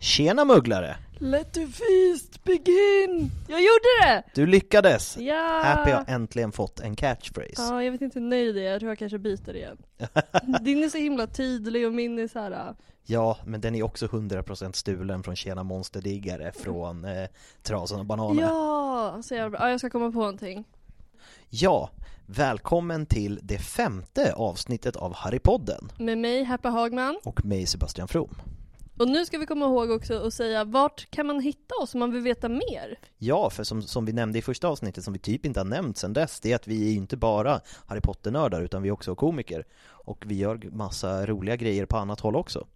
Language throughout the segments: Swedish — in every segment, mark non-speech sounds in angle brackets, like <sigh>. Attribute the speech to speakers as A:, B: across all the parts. A: Tjena mugglare!
B: Let the feast begin! Jag gjorde det!
A: Du lyckades!
B: Ja!
A: Happy har äntligen fått en catchphrase.
B: Ja, jag vet inte hur nöjd jag är. Jag tror jag kanske byter igen. Din är så himla tydlig och min är så här.
A: Ja, men den är också 100% stulen från Tjena monsterdiggare från eh, Trasan och bananer.
B: Ja, så jävla bra. Ja, jag ska komma på någonting.
A: ja, välkommen till det femte avsnittet av Harrypodden
B: Med mig, Happy Hagman.
A: och mig Sebastian From.
B: Och nu ska vi komma ihåg också och säga vart kan man hitta oss om man vill veta mer?
A: Ja, för som, som vi nämnde i första avsnittet, som vi typ inte har nämnt sedan dess, det är att vi är ju inte bara Harry Potter-nördar, utan vi är också komiker. Och vi gör massa roliga grejer på annat håll också.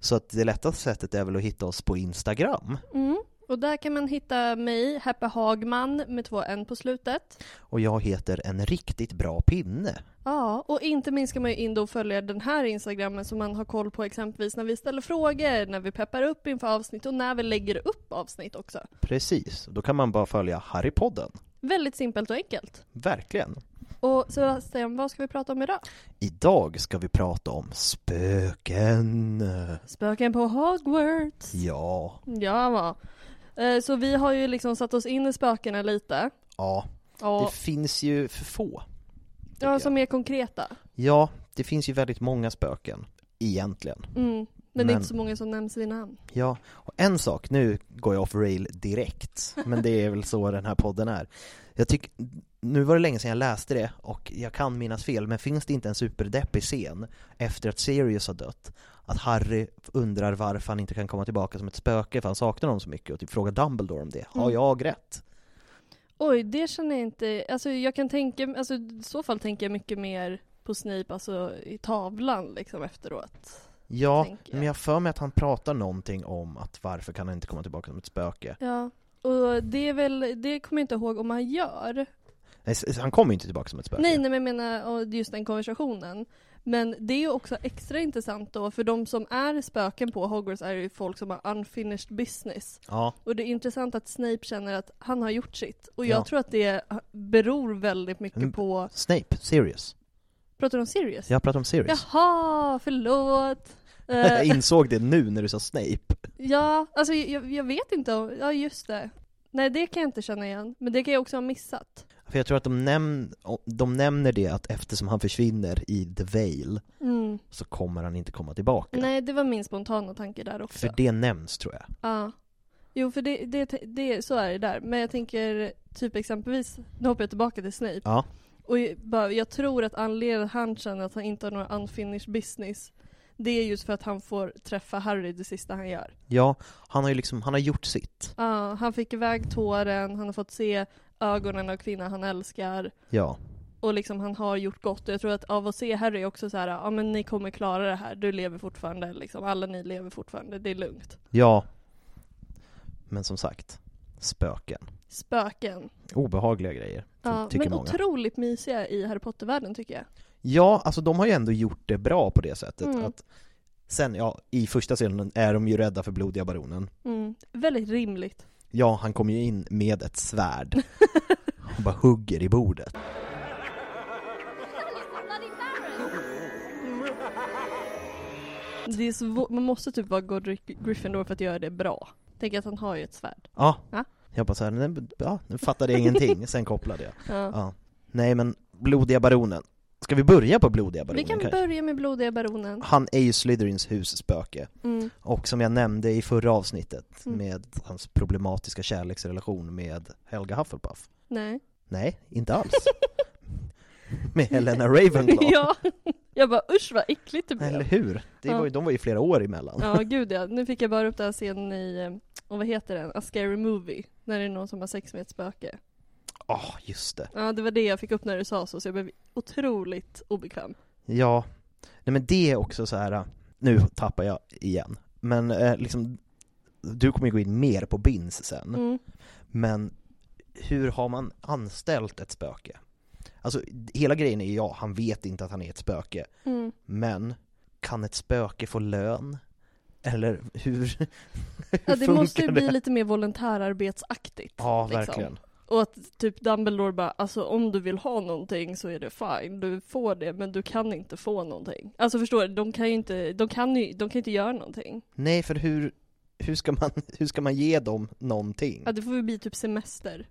A: Så att det lättaste sättet är väl att hitta oss på Instagram.
B: Mm. Och där kan man hitta mig, Happy Hagman, med två N på slutet.
A: Och jag heter En riktigt bra pinne.
B: Ja, och inte minst ska man ju in då och följa den här instagrammen så man har koll på exempelvis när vi ställer frågor, när vi peppar upp inför avsnitt och när vi lägger upp avsnitt också.
A: Precis, då kan man bara följa Harrypodden.
B: Väldigt simpelt och enkelt.
A: Verkligen.
B: Och Sebastian, vad ska vi prata om idag?
A: Idag ska vi prata om spöken.
B: Spöken på Hogwarts.
A: Ja,
B: Ja, va. Eh, Så vi har ju liksom satt oss in i spökena lite.
A: ja, det
B: Och,
A: finns ju för få. tycker
B: ja,
A: jag.
B: som är konkreta.
A: Ja, det finns ju väldigt många spöken, egentligen.
B: Mm. Men, det
A: Men-
B: är inte så många som nämns vid namn.
A: Ja, och en sak, nu går jag off rail direkt, men det är väl så den här podden är. Jag tycker, nu var det länge sedan jag läste det och jag kan minnas fel, men finns det inte en superdeppig scen efter att Sirius har dött? Att Harry undrar varför han inte kan komma tillbaka som ett spöke för han saknar honom så mycket och typ frågar Dumbledore om det. Har
B: Mm.
A: jag rätt?
B: Oj, det känner jag inte. Alltså jag kan tänka, alltså i så fall tänker jag mycket mer på Snape, alltså i tavlan liksom efteråt.
A: Ja,
B: Tänker jag.
A: men jag har för mig att han pratar någonting om att varför kan han inte komma tillbaka som ett spöke?
B: Ja. Och det är väl, det kommer jag inte ihåg om han gör.
A: Nej, s- han kommer ju inte tillbaka som ett spöke.
B: Nej, nej men jag menar och just den konversationen. Men det är ju också extra intressant då, för de som är spöken på Hogwarts är ju folk som har unfinished business.
A: Ja,
B: Och det är intressant att Snape känner att han har gjort sitt. Och
A: Ja.
B: jag tror att det beror väldigt mycket
A: Mm.
B: på...
A: Snape, Sirius.
B: Pratar du om Sirius?
A: Jag pratar om Sirius.
B: Jaha,
A: <laughs>
B: förlåt!
A: Jag
B: Eh,
A: insåg det nu när du sa Snape.
B: ja, alltså jag, jag vet inte om... Ja, just det. Nej, det kan jag inte känna igen. Men det kan jag också ha missat.
A: För jag tror att de, näm- de nämner det att eftersom han försvinner i The Veil
B: Mm.
A: så kommer han inte komma tillbaka.
B: Nej, det var min spontana tanke där också.
A: För det nämns tror jag.
B: Ja. Jo, för det, det, det, så är det där. Men jag tänker typ exempelvis, nu hoppar jag tillbaka till Snape.
A: Ja.
B: Och jag, bara, jag tror att anledningen att han känner att han inte har några unfinished business, det är just för att han får träffa Harry det sista han gör.
A: Ja, han har ju liksom, han har gjort sitt.
B: Ja, han fick iväg tåren, han har fått se ögonen av kvinnan han älskar.
A: Ja.
B: och liksom han har gjort gott. Och jag tror att av att se Harry också så här, ja men ni kommer klara det här, du lever fortfarande liksom, alla ni lever fortfarande, det är lugnt.
A: Ja. Men som sagt, spöken.
B: Spöken.
A: Obehagliga grejer,
B: Ja,
A: tycker
B: men
A: många.
B: otroligt mysiga i Harry Potter-världen tycker jag.
A: Ja, alltså de har ju ändå gjort det bra på det sättet
B: Mm.
A: att Sen, ja, i första scenen är de ju rädda för blodiga baronen
B: Mm. Väldigt rimligt.
A: Ja, han kommer ju in med ett svärd
B: <laughs>
A: och bara hugger i bordet
B: Det är svå- man måste typ vara Godric Gryffindor för att göra det bra. Tänk att han har ju ett svärd.
A: Ja,
B: Ja.
A: jag bara såhär, nej, ja, nu fattade jag ingenting, sen kopplade jag
B: Ja.
A: ja. Nej men, blodiga baronen Ska vi börja på blodiga
B: Vi
A: baronen
B: kan
A: kanske? Ah.
B: börja med blodiga baronen.
A: Han är ju Slytherins husspöke
B: Mm.
A: Och som jag nämnde i förra avsnittet
B: Mm.
A: med hans problematiska kärleksrelation med Helga Hufflepuff
B: Nej.
A: Nej, inte
B: <laughs>
A: alls Med Helena Ravenclaw
B: ja. Jag bara usch vad äckligt det
A: Eller
B: blev.
A: hur? Det
B: Ja.
A: var ju, de var ju flera år <laughs> emellan
B: Ja gud ja. Nu fick jag bara upp den här scenen i, eh, och vad heter den? A Scary Movie. När det är någon som har sex med ett spöke.
A: Ah, just det
B: Ja det var det jag fick upp när du sa så, så jag blev otroligt obekväm.
A: Ja, nej men det är också så här. nu tappar jag igen, men eh, liksom, du kommer ju gå in mer på bins sen,
B: Mm.
A: men hur har man anställt ett spöke? Alltså hela grejen är ju ja, han vet inte att han är ett spöke,
B: Mm.
A: men kan ett spöke få lön? Eller hur, <laughs> hur
B: Ja, det
A: funkar
B: måste ju bli lite mer volontärarbetsaktigt.
A: Ja,
B: liksom.
A: verkligen.
B: Och att typ Dumbledore bara, alltså om du vill ha någonting så är det fine, du får det men du kan inte få någonting. Alltså förstår du, de kan ju inte, de kan ju, de kan inte göra någonting.
A: Nej, för hur, hur, ska man, hur ska man ge dem någonting?
B: Ja det får väl bli typ semester.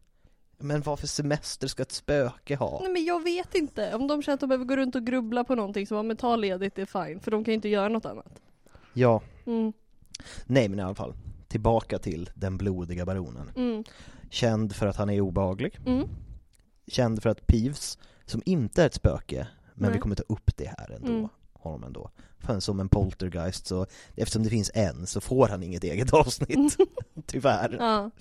A: Men vad för semester ska ett spöke ha?
B: Nej men jag vet inte, om de känner att de behöver gå runt och grubbla på någonting så bara, men ta ledigt, det är fine, för de kan ju inte göra något annat.
A: Ja,
B: Mm,
A: Nej men i alla fall, tillbaka till den blodiga baronen.
B: mm,
A: Känd för att han är obehaglig,
B: mm,
A: känd för att Peeves, som inte är ett spöke, men
B: Nej.
A: vi kommer ta upp det här ändå,
B: Mm.
A: honom ändå. För som en poltergeist så, eftersom det finns en så får han inget eget
B: <laughs>
A: avsnitt, tyvärr.
B: ja,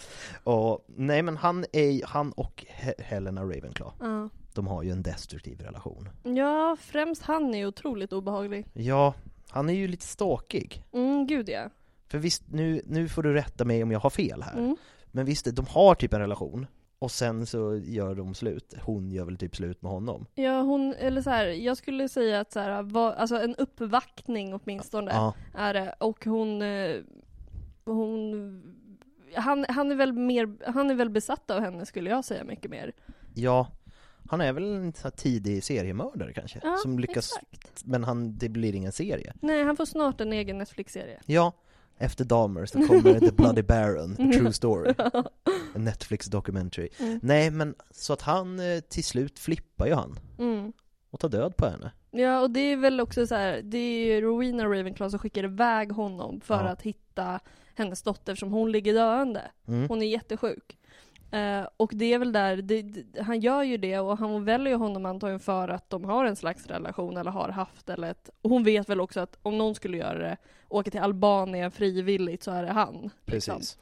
A: Och, nej men han, är, han och He- Helena Ravenclaw,
B: ja.
A: de har ju en destruktiv relation.
B: Ja, främst han är ju otroligt obehaglig.
A: Ja, han är ju lite stalkig.
B: Mm, gud ja.
A: För visst, nu, nu får du rätta mig om jag har fel här.
B: Mm.
A: Men visst, de har typ en relation och sen så gör de slut. Hon gör väl typ slut med honom.
B: Ja, hon, eller så här, jag skulle säga att så här, va, alltså en uppvaktning åtminstone
A: Ja,
B: är det. Och hon, eh, hon, han, han är väl mer, han är väl besatt av henne skulle jag säga mycket mer.
A: ja. Han är väl en sån här tidig seriemördare kanske?
B: Ja,
A: som lyckas,
B: exakt.
A: men han, det blir ingen serie.
B: Nej, han får snart en egen Netflix-serie.
A: Ja, efter Dahmer så kommer The Bloody Baron, A True
B: <laughs>
A: Story. En Netflix documentary.
B: Mm.
A: Nej men, så att han eh, till slut flippar ju han
B: Mm.
A: och tar död på henne.
B: Ja, och det är väl också så här, det är ju Rowena Ravenclaw som skickar iväg honom för
A: Ja.
B: att hitta hennes dotter som hon ligger döende.
A: Mm.
B: Hon är jättesjuk. Eh, och det är väl där, det, det, han gör ju det och han väljer ju honom antagligen för att de har en slags relation eller har haft eller ett, och hon vet väl också att om någon skulle göra det, åka till Albanien frivilligt så är det han. liksom.
A: Precis.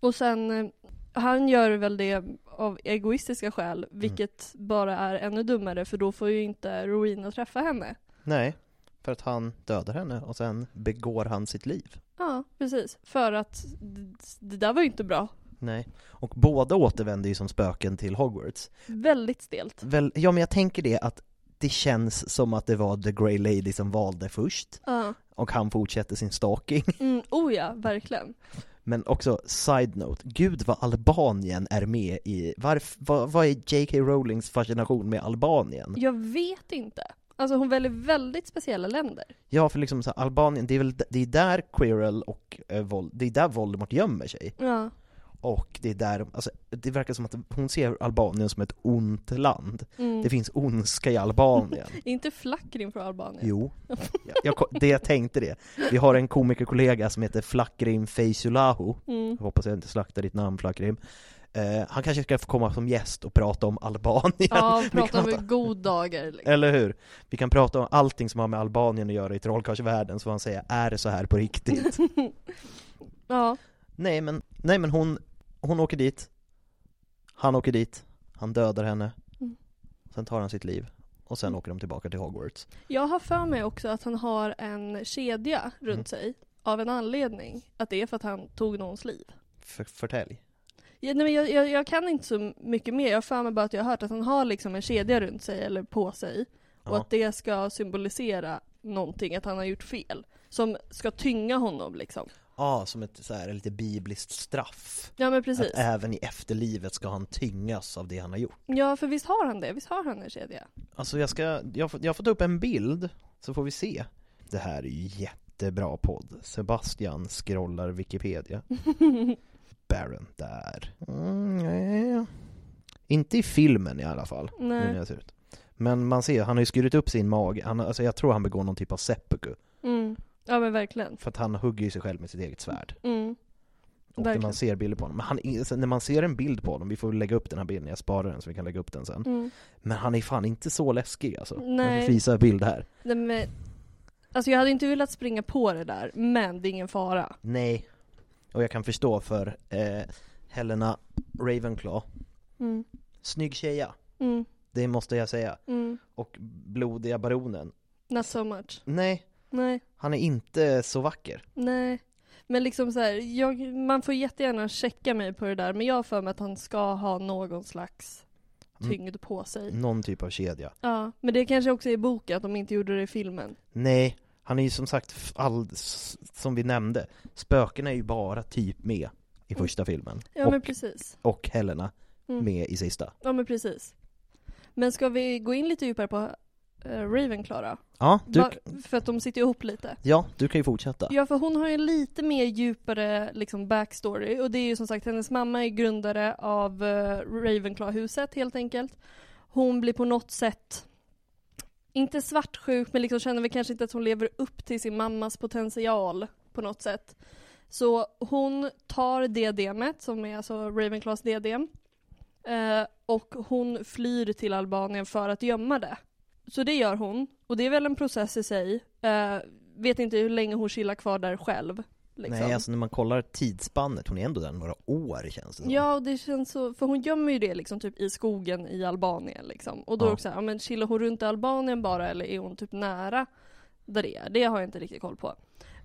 B: Och sen, eh, han gör väl det av egoistiska skäl,
A: Mm.
B: vilket bara är ännu dummare för då får ju inte Rowena träffa henne.
A: Nej, för att han dödar henne och sen begår han sitt liv.
B: Ja, precis. För att d- det där var ju inte bra.
A: Nej. Och båda återvänder ju som spöken till Hogwarts.
B: Väldigt stelt.
A: Väl, ja men jag tänker det att det känns som att det var The Grey Lady som valde först
B: Ja.
A: och han fortsätter sin stalking. <laughs>
B: Mm, oh ja, verkligen.
A: Men också, side note, gud vad Albanien är med i, varf, vad, vad är J.K. Rowlings fascination med Albanien?
B: Jag vet inte. Alltså hon väljer väldigt speciella länder.
A: Ja för liksom så här, Albanien, det är väl d- det är där Quirrell och eh, Vol, det är där Voldemort gömmer sig.
B: Ja.
A: Och det är där, alltså det verkar som att hon ser Albanien som ett ont land.
B: Mm.
A: Det finns ondska i Albanien.
B: Är inte Flackrin från Albanien? <laughs>
A: Jo, jag, jag, ko- det jag tänkte det. Vi har en komikerkollega som heter Flakrim Feysulahu,
B: Mm.
A: jag hoppas jag inte slaktar ditt namn Flakrim. Eh, han kanske ska få komma som gäst och prata om Albanien.
B: Ja,
A: Vi
B: prata
A: kan
B: om goddagar.
A: <laughs>
B: Liksom.
A: Eller hur? Vi kan prata om allting som har med Albanien att göra i trollkarlsvärlden, så får han säga är det så här på
B: <laughs>
A: riktigt?
B: Ja.
A: nej, men, nej men hon, hon åker dit, han åker dit, han dödar henne,
B: Mm.
A: sen tar han sitt liv. och sen åker de tillbaka till Hogwarts.
B: Jag har för mig också att han har en kedja runt
A: Mm.
B: sig av en anledning. Att det är för att han tog någons liv.
A: För, förtälj.
B: Ja, nej, men jag, jag, jag kan inte så mycket mer. Jag har för mig bara att jag har hört att han har liksom en kedja runt sig eller på sig. Och
A: Ja.
B: att det ska symbolisera någonting, att han har gjort fel. Som ska tynga honom liksom.
A: Ja, som ett så här, lite bibliskt straff.
B: Ja men precis.
A: Att eh, även i efterlivet ska han tyngas av det han har gjort.
B: Ja för visst har han det? Visst har han en kedja?
A: Alltså jag ska, jag får, jag får ta upp en bild, så får vi se. Det här är ju jättebra podd. Sebastian scrollar
B: <laughs>
A: Wikipedia. Baron där. Mm, nej. Inte i filmen i alla fall, nu när
B: Nej.
A: jag ser ut. Men man ser, han har ju skurit upp sin mage. Han, har- alltså jag tror han begår någon typ av seppuku.
B: Mm. Ja men verkligen.
A: För att han hugger ju sig själv med sitt eget svärd.
B: Mm.
A: Och när
B: Verkligen.
A: man ser bilder på honom. Men han, är- alltså när man ser en bild på honom, vi får lägga upp den här bilden, jag sparar den så vi kan lägga upp den sen.
B: Mm.
A: Men han är fan inte så läskig alltså.
B: Nej.
A: Jag visar bild här.
B: Nej, men, alltså jag hade inte velat springa på det där, men det är ingen fara.
A: Nej. Och jag kan förstå för eh, Helena Ravenclaw,
B: Mm.
A: snygg tjeja.
B: Mm.
A: Det måste jag säga.
B: Mm.
A: Och blodiga baronen.
B: Not so much.
A: Nej,
B: Nej.
A: han är inte så vacker.
B: Nej. Men liksom så här, jag, man får jättegärna checka mig på det där, men jag har för mig att han ska ha någon slags
A: Mm.
B: tyngd på sig.
A: Någon typ av kedja.
B: Ja, men det kanske också är i boken, att de inte gjorde det i filmen.
A: Nej, han är ju som sagt, f- all, s- som vi nämnde, spöken är ju bara typ med i första filmen.
B: Ja,
A: och,
B: men precis.
A: och Helena
B: Mm.
A: med i sista.
B: Ja, men precis. Men ska vi gå in lite djupare på eh, Ravenclaw då?
A: Ja du,
B: Va, för att de sitter ihop lite.
A: ja, du kan ju fortsätta.
B: Ja, för hon har ju lite mer djupare liksom, backstory och det är ju som sagt hennes mamma är grundare av eh, Ravenclaw-huset helt enkelt. Hon blir på något sätt, inte svartsjuk, men liksom känner väl kanske inte att hon lever upp till sin mammas potential på något sätt. Så hon tar diademet, som är alltså Ravenclaws diadem, eh, och hon flyr till Albanien för att gömma det. Så det gör hon, och det är väl en process i sig. Eh, vet inte hur länge hon chillar kvar där själv. Liksom.
A: Nej, alltså när man kollar tidsspannet, hon är ändå där några år känns det som.
B: Ja, och det känns så, för hon gömmer ju det liksom typ i skogen i Albanien liksom. Och då
A: Ja.
B: är det också, ja men chillar hon runt i Albanien bara eller är hon typ nära där det är? Det har jag inte riktigt koll på.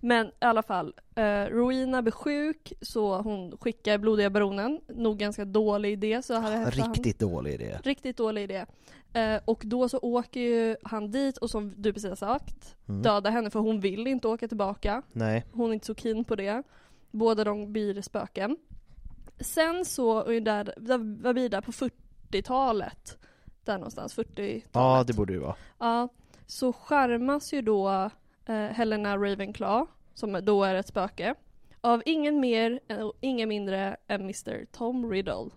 B: Men i alla fall, eh, Rowena blir sjuk så hon skickar blodiga baronen, nog ganska dålig idé så här efter han-
A: Ah, Riktigt dålig idé.
B: Riktigt dålig idé. Eh, och då så åker ju han dit och som du precis har sagt,
A: Mm.
B: dödar henne för hon vill inte åka tillbaka.
A: Nej.
B: Hon är inte så keen på det. Båda de blir spöken. Sen så är ju där, där- vad blir det, på 40-talet. Där någonstans, 40-talet.
A: Ja, det borde det vara.
B: Ja, så skärmas ju då eh, Helena Ravenclaw, som då är ett spöke, av ingen mer eh, och ingen mindre än Mr Tom Riddle.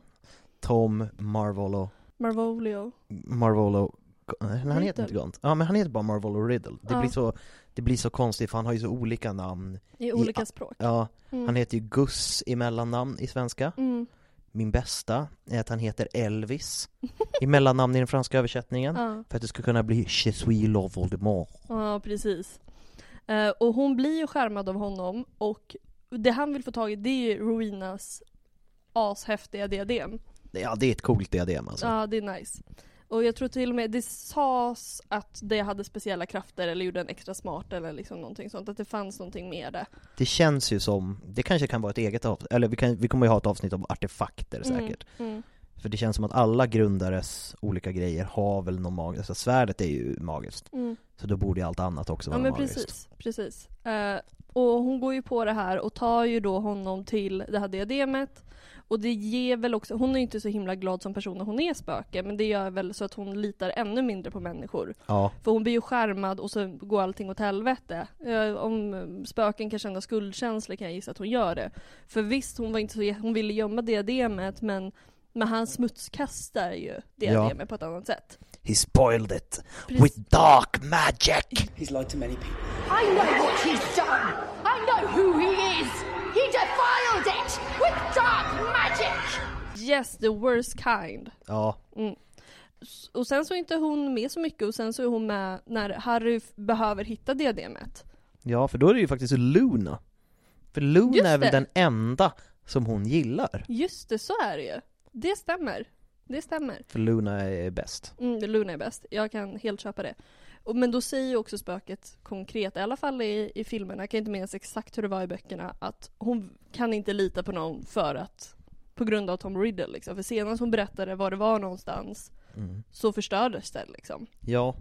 A: Tom Marvolo,
B: Marvolio.
A: Marvolo, nej, han heter inte
B: Riddle.
A: Gant. Ja, men han heter bara Marvolo Riddle. Det,
B: Ja.
A: blir så, det blir så konstigt för han har ju så olika namn.
B: I olika språk.
A: Ja,
B: Mm.
A: han heter ju Gus i mellannamn i svenska.
B: Mm.
A: Min bästa är att han heter Elvis
B: <laughs>
A: i mellannamn i den franska översättningen.
B: Ja,
A: För att det ska kunna bli Je suis le Voldemort.
B: ja precis. Eh, och hon blir ju skärmad av honom och det han vill få tag i det är ju Rowinas ashäftiga diadem.
A: Ja, det är ett coolt diadem alltså.
B: Ja, det är nice. Och jag tror till och med, det sades att det hade speciella krafter eller gjorde en extra smart eller liksom någonting sånt. Att det fanns någonting med det.
A: Det känns ju som, det kanske kan vara ett eget avsnitt, eller vi, kan, vi kommer ju ha ett avsnitt om artefakter säkert.
B: mm.
A: För det känns som att alla grundares olika grejer har väl någon magisk, alltså svärdet är ju magiskt. Så då borde ju allt annat också
B: Mm. Ja
A: vara
B: men
A: magiskt.
B: precis, precis. Eh, och hon går ju på det här och tar ju då honom till det här diademet. Och det ger väl också, hon är ju inte så himla glad som person när hon är spöke, men det gör väl så att hon litar ännu mindre på människor.
A: Ja,
B: För hon blir ju skärmad och så går allting åt helvete. Eh, om eh, spöken kan känna skuldkänslor kan jag gissa att hon gör det. För visst, hon var inte så, jä- hon ville gömma diademet men men han smutskastar ju diademet på ett annat sätt.
A: he spoiled it
B: Precis.
A: with dark magic!
C: He's lied to many people.
D: I know what he's done. I know who he is. He defiled it with dark magic.
B: Yes, the worst kind.
A: Ja,
B: och sen så är inte hon med så mycket och sen så är hon med när Harry f- behöver hitta diademet.
A: ja för då är det ju faktiskt Luna. För Luna
B: Just
A: är väl
B: det.
A: den enda som hon gillar.
B: Just det, så är det ju. Det stämmer. Det stämmer.
A: För Luna är bäst.
B: Mm, det Luna är bäst. Jag kan helt köpa det. Och, men då säger ju också spöket konkret, i alla fall i, i filmerna, jag kan inte minnas exakt hur det var i böckerna, att hon kan inte lita på någon för att på grund av Tom Riddle liksom. För senast hon berättade var det var någonstans
A: Mm.
B: så förstördes det liksom.
A: Ja,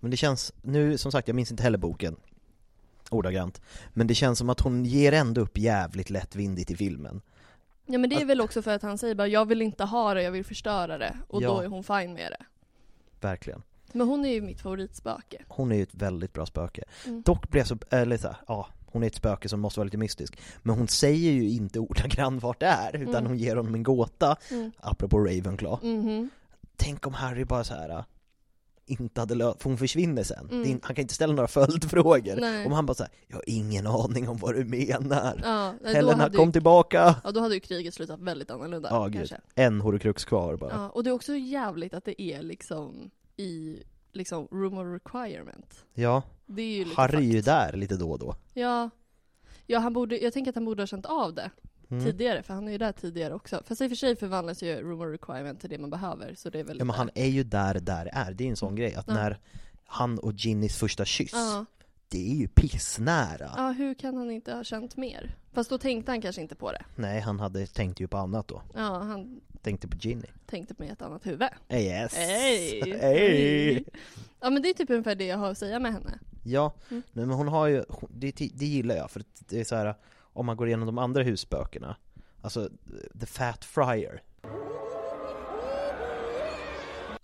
A: men det känns, nu som sagt jag minns inte heller boken ordagrant, men det känns som att hon ger ändå upp jävligt lättvindigt i filmen.
B: Ja men det är
A: Att-
B: väl också för att han säger bara jag vill inte ha det, jag vill förstöra det. Och då
A: Ja.
B: är hon fine med det.
A: Verkligen.
B: Men hon är ju mitt favoritspöke.
A: Hon är ju ett väldigt bra spöke.
B: Mm.
A: Dock blev jag så, eller så här, ja, hon är ett spöke som måste vara lite mystisk. Men hon säger ju inte ordagrant vart det är, utan
B: Mm.
A: hon ger honom en gåta,
B: Mm.
A: apropå Ravenclaw.
B: Mhm.
A: Tänk om Harry bara så här äh, inte hade löst, för hon försvinner sen.
B: Mm.
A: Det är in- Han kan inte ställa några följdfrågor.
B: Nej.
A: Om han bara säger jag har ingen aning om vad du menar.
B: Ja, nej, då
A: Helena,
B: hade
A: kom
B: ju,
A: tillbaka!
B: ja, då hade ju kriget slutat väldigt annorlunda
A: Ja, gud.
B: kanske.
A: En horocrux kvar bara.
B: Ja, och det är också jävligt att det är liksom i liksom room of requirement.
A: Ja,
B: Det är ju lite
A: Harry är ju
B: fucked.
A: där lite då och då.
B: Ja. Ja, han borde, jag tänker att han borde ha känt av det
A: Mm.
B: tidigare, för han är ju där tidigare också. Fast i och för sig förvandlas ju room of requirement till det man behöver, så det är väl...
A: Ja, men han är ju där där är. Det är ju en sån grej att
B: Mm. Ja.
A: när han och Ginnys första kyss,
B: Ja.
A: det är ju pissnära.
B: ja, hur kan han inte ha känt mer? Fast då tänkte han kanske inte på det.
A: Nej, han hade tänkt ju på annat då.
B: Ja, han
A: Tänkte på Ginny.
B: tänkte med ett annat huvud.
A: Eh, Yes!
B: Hey.
A: <laughs> Hey.
B: Ja, men det är typ ungefär det jag har att säga med henne.
A: Ja, nej, men hon har ju, hon- det, det gillar jag för att det är så här om man går igenom de andra husböckerna, alltså The Fat Friar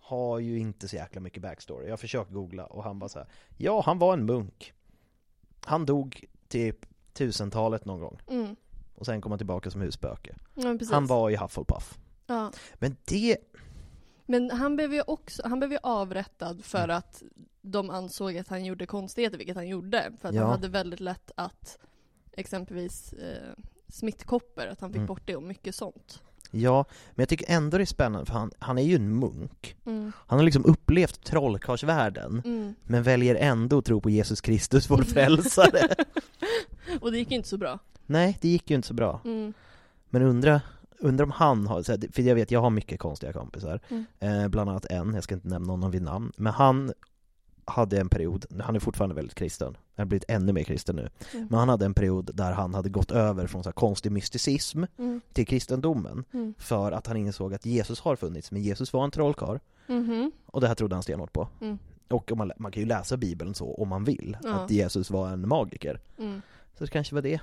A: har ju inte så jäkla mycket backstory. Jag försökte googla och han bara så här. ja han var en munk. Han dog typ tusentalet någon gång
B: Mm.
A: och sen kom han tillbaka som husspöke.
B: Ja, men precis.
A: Han var i Hufflepuff.
B: Ja.
A: Men det,
B: Men han blev ju också, han blev ju avrättad för
A: Mm.
B: att de ansåg att han gjorde konstigheter, vilket han gjorde. För att
A: Ja.
B: han hade väldigt lätt att exempelvis eh, smittkoppor, att han fick
A: Mm.
B: bort det och mycket sånt.
A: ja, men jag tycker ändå det är spännande för han, han är ju en munk.
B: Mm.
A: Han har liksom upplevt trollkarlsvärlden <laughs>
B: Mm.
A: men väljer ändå att tro på Jesus Kristus, vår
B: <laughs>
A: frälsare.
B: Och det gick ju inte så bra.
A: Nej, det gick ju inte så bra.
B: Mm.
A: Men undra, undra om han har, så här, för jag vet, jag har mycket konstiga kompisar.
B: Mm.
A: Eh, bland annat en, jag ska inte nämna honom vid namn, men han hade en period, han är fortfarande väldigt kristen, han har blivit ännu mer kristen nu,
B: Mm.
A: men han hade en period där han hade gått över från så här konstig mysticism
B: Mm.
A: till kristendomen
B: Mm.
A: för att han insåg att Jesus har funnits, men Jesus var en trollkarl
B: Mhm.
A: och det här trodde han stenhårt på.
B: Mm.
A: Och om man, man kan ju läsa Bibeln så om man vill,
B: Ja.
A: att Jesus var en magiker.
B: Mm.
A: Så det kanske var det.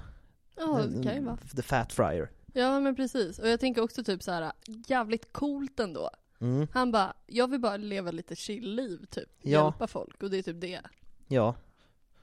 B: Ja, det kan ju vara.
A: The Fat Friar.
B: Ja men precis. Och jag tänker också typ så här jävligt coolt ändå.
A: Mm,
B: Han bara, jag vill bara leva lite chill-liv typ.
A: Ja.
B: Hjälpa folk, och det är typ det.
A: ja.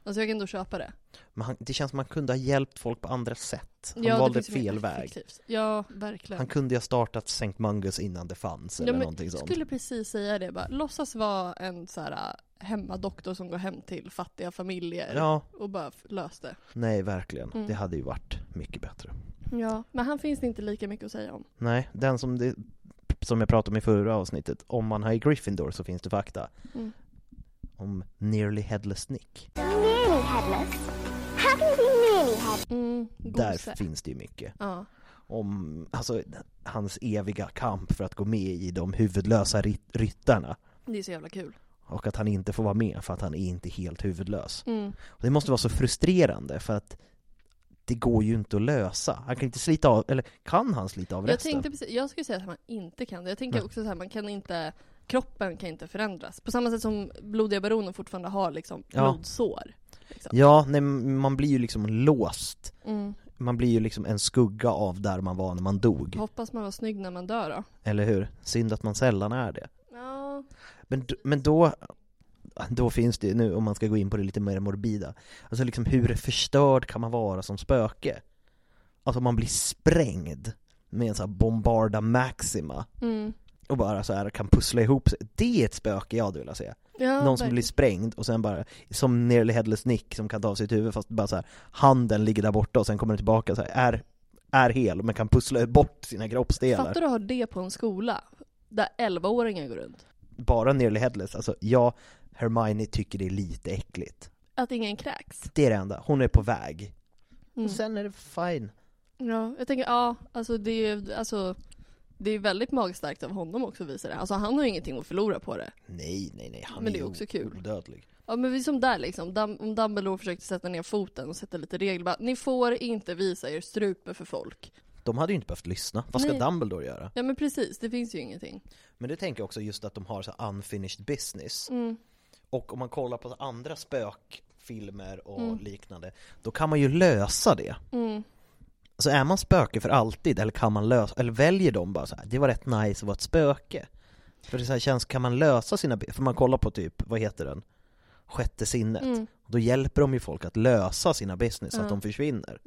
B: Alltså jag kan ändå köpa det.
A: Men han, det känns som att han kunde ha hjälpt folk på andra sätt. Han
B: ja, det
A: valde
B: finns ju mer
A: fel väg.
B: effektivt. Ja, verkligen.
A: Han kunde ju ha startat St. Mungus innan det fanns eller
B: men
A: någonting sånt.
B: skulle precis säga det bara. Låtsas vara en så här äh, hemmadoktor som går hem till fattiga familjer
A: Ja,
B: och bara f- lös det.
A: nej verkligen.
B: Mm.
A: Det hade ju varit mycket bättre.
B: Ja. Men han finns det inte lika mycket att säga om.
A: Nej, den som, det, som jag pratade om i förra avsnittet, om man har i Gryffindor så finns det fakta.
B: Mm.
A: Om Nearly Headless Nick.
D: Nearly headless? How can you be nearly headless?
B: Mm,
A: Där
B: gose.
A: finns det ju mycket.
B: Ja.
A: Om, alltså, hans eviga kamp för att gå med i de huvudlösa rit- ryttarna.
B: Det är så jävla kul.
A: och att han inte får vara med för att han är inte helt huvudlös.
B: Mm.
A: Och det måste vara så frustrerande för att det går ju inte att lösa. Han kan inte slita av, eller kan han slita av
B: Jag,
A: resten?
B: tänkte precis, jag skulle säga att man inte kan det. Jag tänker också så här, man kan inte Kroppen kan inte förändras. På samma sätt som blodiga baroner fortfarande har liksom
A: Ja.
B: blodsår. Liksom.
A: Ja, nej, men man blir ju liksom låst.
B: Mm.
A: Man blir ju liksom en skugga av där man var när man dog.
B: Hoppas man var snygg när man dör då.
A: Eller hur? Synd att man sällan är det.
B: Ja.
A: Men, d- men då, då finns det ju nu, om man ska gå in på det lite mer morbida, alltså liksom hur förstörd kan man vara som spöke? Alltså man blir sprängd med en sån här Bombarda Maxima
B: Mm.
A: och bara så här kan pussla ihop sig. Det är ett spöke jag hade velat se.
B: ja
A: Någon som
B: verkligen.
A: blir sprängd och sen bara, som Nearly Headless Nick som kan ta av sitt huvud fast bara så här, handen ligger där borta och sen kommer den tillbaka så här, är, är hel men kan pussla bort sina kroppsdelar.
B: Fattar du att ha det på en skola? Där 11-åringar går runt.
A: Bara Nearly Headless, alltså ja, Hermione tycker det är lite äckligt.
B: Att ingen kräks.
A: Det är det enda, hon är på väg.
B: Mm.
A: Och sen är det fine.
B: Ja, jag tänker, ja, alltså det är ju, alltså Det är väldigt magstarkt av honom också att visa det. Alltså han har ju ingenting att förlora på det.
A: Nej, nej, nej. Han
B: Men det
A: ju
B: är också
A: o-
B: kul.
A: odödlig.
B: Ja men vi är som där liksom, Dum- om Dumbledore försökte sätta ner foten och sätta lite regler bara, ni får inte visa er strupe för folk.
A: De hade ju inte behövt lyssna. Vad ska
B: Nej.
A: Dumbledore göra?
B: Ja men precis, det finns ju ingenting.
A: Men det tänker jag också just att de har så här unfinished business. Och om man kollar på andra spökfilmer och liknande, då kan man ju lösa det. Så är man spöke för alltid, eller kan man lösa, eller väljer de bara så här, det var rätt nice att vara ett spöke? För det är så här känns, kan man lösa sina, bi- för man kollar på typ, vad heter den? Sjätte sinnet. Då hjälper de ju folk att lösa sina business, så att de försvinner.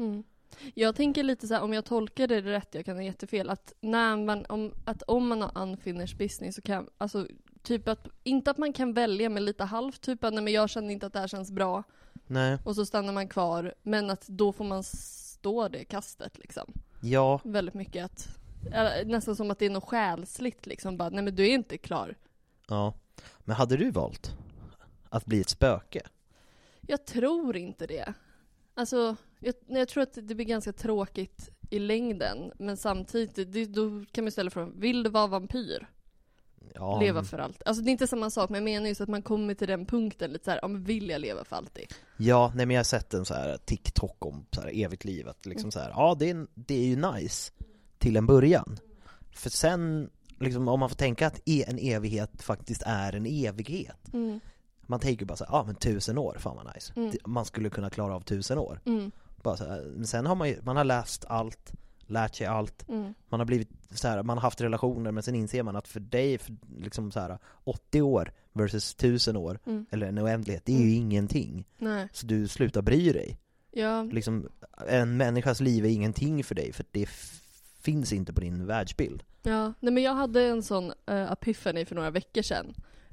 B: Jag tänker lite så här, om jag tolkar det rätt, jag kan ha jättefel, att, när man, om, att om man har unfinished business så kan, alltså typ att, inte att man kan välja men lite halvt, typ att nej men jag känner inte att det här känns bra
A: Nej,
B: och så stannar man kvar, men att då får man stå det kastet liksom.
A: ja,
B: Väldigt mycket att, eller, nästan som att det är något själsligt liksom, bara nej men du är inte klar.
A: ja. Men hade du valt att bli ett spöke?
B: Jag tror inte det. Alltså, jag, nej, jag tror att det blir ganska tråkigt i längden. Men samtidigt, det, då kan man ställa frågan, vill du vara vampyr?
A: Ja,
B: Leva för allt. Alltså det är inte samma sak, men jag menar just att man kommer till den punkten lite såhär, ja men vill jag leva för alltid?
A: Ja, nej men jag har sett en så här TikTok om så här evigt liv, att liksom så här, ja det är, det är ju nice till en början. För sen, liksom, om man får tänka att e- en evighet faktiskt är en evighet. Man tänker bara så här, ja men tusen år, fan vad nice. Det- Man skulle kunna klara av tusen år. Bara så här, men sen har man ju, man har läst allt, lärt sig allt, man har blivit så här, man har haft relationer men sen inser man att för dig, för liksom så här, 80 år versus tusen år, eller en oändlighet, det är ju ingenting.
B: Nej.
A: Så du slutar bry dig.
B: Ja,
A: Liksom, en människas liv är ingenting för dig för det f- finns inte på din världsbild.
B: ja. Nej men jag hade en sån uh, epiphany för några veckor sedan.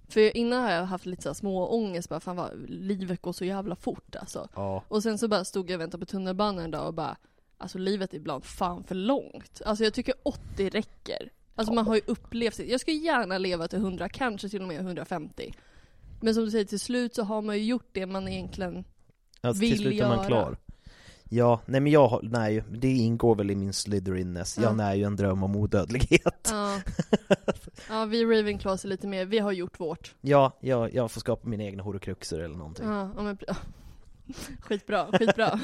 B: För innan har jag haft lite så här små ångest bara, fan vad, livet går så jävla fort alltså.
A: Ja.
B: Och sen så bara stod jag och väntade på tunnelbanan en dag och bara Alltså livet är ibland fan för långt. Alltså jag tycker 80 räcker. Alltså man har ju upplevt sitt. Jag skulle gärna leva till 100, kanske till och med 150. Men som du säger, till slut så har man ju gjort det man egentligen...
A: Alltså,
B: Vill
A: till slut är
B: göra.
A: man klar. Ja, nej men jag har- nej, det ingår väl i min Slytherinness. Jag när ju en dröm om odödlighet.
B: Ja, ja vi Ravenclaws är lite mer, vi har gjort vårt.
A: Ja, jag, jag får skapa mina egna horokruxer eller någonting.
B: Ja, ja men... ja. <laughs> Skitbra, skitbra.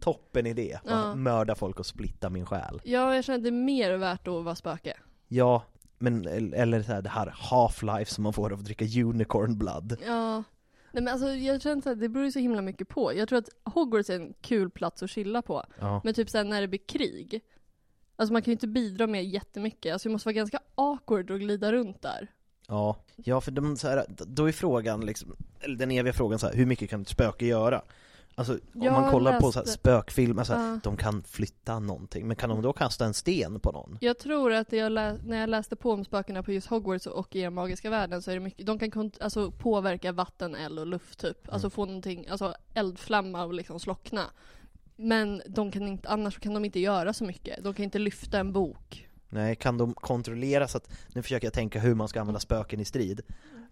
A: Toppen idé.
B: Ja.
A: Mörda folk och splitta min själ.
B: Ja, jag känner att det är mer värt att vara spöke.
A: Ja, men eller så här, det här half-life som man får av att dricka unicorn blood.
B: Ja. Nej men alltså jag känner att det beror ju så himla mycket på. Jag tror att Hogwarts är en kul plats att chilla på.
A: Ja.
B: Men typ såhär när det blir krig. Alltså man kan ju inte bidra med jättemycket. Alltså det måste vara ganska awkward att glida runt där.
A: Ja, ja för de, så här, då är frågan liksom, eller den eviga frågan så här, hur mycket kan ett spöke göra? Alltså om
B: Jag
A: man kollar på så här,
B: läste-
A: spökfilmer, så här,
B: Ja.
A: de kan flytta någonting, men kan de då kasta en sten på någon?
B: Jag tror att jag lä- när jag läste på om spökena på just Hogwarts och i den magiska världen så är det mycket, de kan kont- alltså påverka vatten, eld och luft typ.
A: Mm.
B: Alltså få någonting, alltså eldflamma och liksom slockna. Men de kan inte, annars kan de inte göra så mycket. De kan inte lyfta en bok.
A: Nej, kan de kontrollera så att, nu försöker jag tänka hur man ska använda spöken i strid,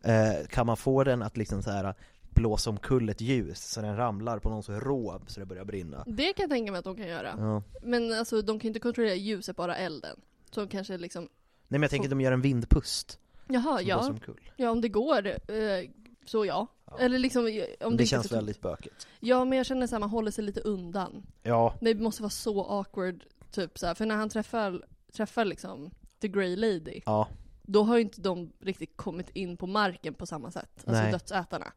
A: eh, kan man få den att liksom så här blåsa omkull ett ljus så den ramlar på någon så rå så det börjar brinna?
B: Det kan jag tänka mig att de kan göra.
A: Ja.
B: Men alltså de kan inte kontrollera ljuset, bara elden. Så kanske liksom,
A: Nej men jag tänker att de gör en vindpust
B: jaha
A: som blåser
B: ja,
A: omkull.
B: ja om det går, eh, så ja. Eller liksom, om det,
A: Det,
B: inte är
A: känns
B: så-
A: väldigt bökigt.
B: Ja men jag känner såhär, man håller sig lite undan.
A: Ja,
B: Det måste vara så awkward, typ såhär, för när han träffar, träffar liksom The Grey Lady,
A: ja.
B: då har ju inte de riktigt kommit in på marken på samma sätt. Alltså
A: Nej.
B: dödsätarna.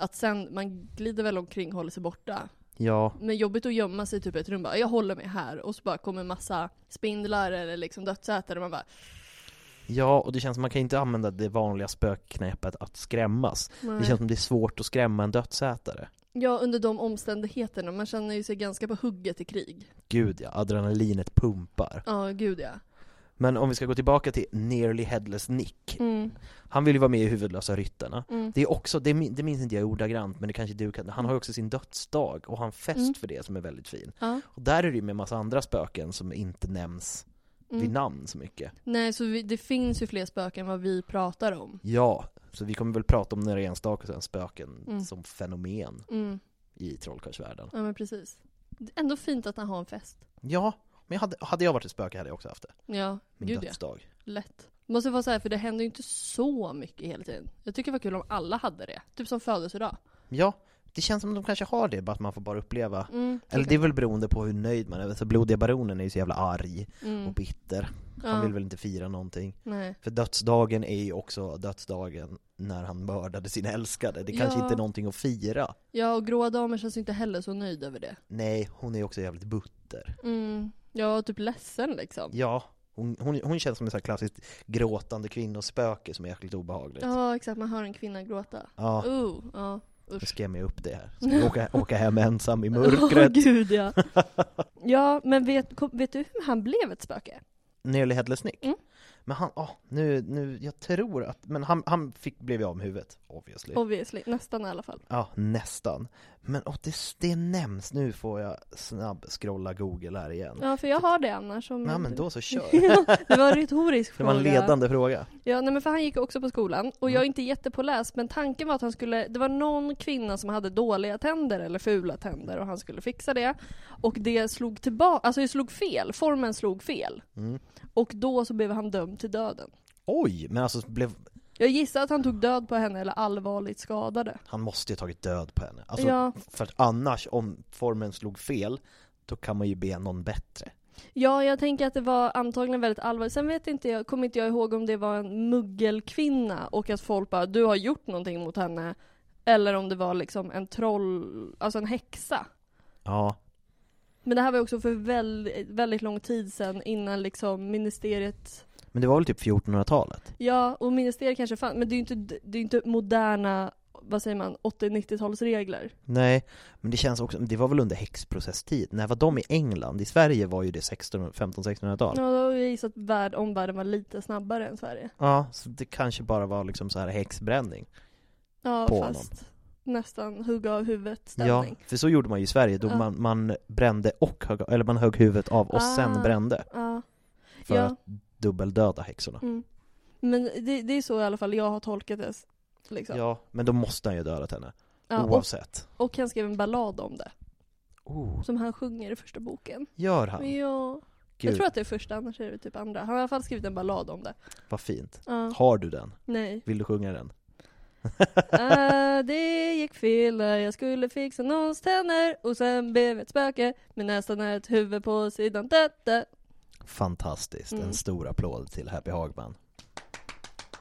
B: Att sen, man glider väl omkring, håller sig borta.
A: Ja,
B: Men jobbigt att gömma sig i typ i ett rum bara, jag håller mig här och så bara kommer massa spindlar eller liksom dödsätare och man bara
A: Ja, och det känns som man kan inte använda det vanliga spökknepet att skrämmas. Det känns som det är svårt att skrämma en dödsätare.
B: Ja under de omständigheterna, man känner ju sig ganska på hugget i krig.
A: Gud ja, adrenalinet pumpar.
B: Ja gud ja.
A: Men om vi ska gå tillbaka till Nearly Headless Nick. Han vill ju vara med i Huvudlösa Ryttarna. Det är också, det, min- det minns inte jag ordagrant, men det kanske du kan. Han har ju också sin dödsdag och han fest för det som är väldigt fin.
B: Ja.
A: Och där är det ju med massa andra spöken som inte nämns vid namn så mycket.
B: Nej så vi, det finns ju fler spöken än vad vi pratar om.
A: Ja, så vi kommer väl prata om några enstaka sen spöken som fenomen
B: Mm.
A: i trollkarlsvärlden.
B: Ja men precis. Det är ändå fint att han har en fest.
A: Ja, Men jag hade, hade jag varit ett spöke hade jag också haft det.
B: Ja,
A: Min
B: gud ja.
A: dödsdag.
B: Lätt. Måste vara så här, för det händer ju inte så mycket hela tiden. Jag tycker det var kul om alla hade det. Typ som födelsedag.
A: Ja, det känns som att de kanske har det, bara att man får bara uppleva.
B: Mm,
A: Eller det är väl beroende på hur nöjd man är. Så Blodiga Baronen är ju så jävla arg och bitter. Han
B: Mm. Ja.
A: vill väl inte fira någonting.
B: Nej.
A: För dödsdagen är ju också dödsdagen när han mördade sin älskade. Det kanske
B: Ja.
A: inte är någonting att fira.
B: Ja, och gråa damen känns ju inte heller så nöjd över det.
A: Nej, hon är också jävligt butter.
B: Mm. Ja, typ ledsen liksom.
A: Ja, hon, hon, hon känns som en sån här klassiskt gråtande kvinnospöke som är jäkligt obehagligt.
B: Ja, exakt. Man hör en kvinna gräta.
A: Ja.
B: Oh, ja.
A: Nu
B: Usch.
A: ska jag med upp det här.
B: <laughs>
A: Ska jag åka, åka hem ensam i
B: Åh
A: mörkret.
B: gud
A: <laughs>
B: ja. ja, men vet, kom- vet du hur han blev ett spöke?
A: Nearly headless Nick.
B: Mm.
A: Men han, ah, nu, nu, jag tror att, men han, han fick, blev ju av med huvudet, obviously.
B: Obviously. Nästan i alla fall.
A: Ja, nästan. Men åh, det, det nämns, nu får jag snabb scrolla google här igen.
B: Ja, för jag har det annars. Om
A: Nej men då
B: <laughs>
A: så kör.
B: Ja, det var
A: <laughs>
B: en retorisk
A: Det
B: fråga.
A: var en ledande fråga.
B: Ja, nej, men för han gick också på skolan och jag är inte jättepåläst men tanken var att han skulle, det var någon kvinna som hade dåliga tänder eller fula tänder och han skulle fixa det. Och det slog tillbaka, alltså det slog fel, formen slog fel. Och då så blev han dömd till döden.
A: Oj, men alltså blev,
B: Jag gissar att han tog död på henne eller allvarligt skadade.
A: han måste ju ha tagit död på henne. Alltså,
B: Ja.
A: för att annars, om formen slog fel, då kan man ju be någon bättre.
B: Ja, jag tänker att det var antagligen väldigt allvarligt. Sen vet inte jag, kommer inte jag ihåg om det var en muggelkvinna och att folk bara du har gjort någonting mot henne. Eller om det var liksom en troll, alltså en häxa.
A: Ja,
B: Men det här var ju också för väldigt, väldigt lång tid sedan innan liksom ministeriet
A: men det var väl typ 1400-talet?
B: Ja, och ministeriet kanske fanns, men det är ju inte, det är ju inte moderna, vad säger man, 80-90-talsregler.
A: Nej, men det känns också, det var väl under häxprocesstid? När var de i England? I Sverige var ju det 1600 1500-1600-tal.
B: Ja, då har jag gissat att värld, omvärlden var lite snabbare än Sverige.
A: Ja, så det kanske bara var liksom så här häxbränning.
B: Ja,
A: På
B: fast nästan hugga av huvudet
A: Ja,
B: stämning.
A: för så gjorde man ju i Sverige, då
B: Ja.
A: man, man brände och högg, eller man högg huvudet av och sen
B: Ah.
A: brände.
B: Ja.
A: För
B: Ja.
A: att dubbeldöda häxorna.
B: Mm. Men det, det är så i alla fall jag har tolkat det. Liksom. Ja,
A: Ja, men då måste han ju ha dödat henne.
B: och,
A: Oavsett.
B: och han skrev en ballad om det,
A: Oh,
B: som han sjunger i första boken.
A: gör han?
B: Ja.
A: Gud,
B: Jag tror att det är första, annars är det typ andra. Han har i alla fall skrivit en ballad om det.
A: vad fint.
B: Ja.
A: Har du den?
B: Nej.
A: Vill du sjunga
B: <laughs>
A: den?
B: Äh, det gick fel, jag skulle fixa någons tänder och sen blev ett spöke med nästan ett huvud på sidan. Da, da.
A: Fantastiskt,
B: Mm.
A: en stor applåd till Happy Hagman.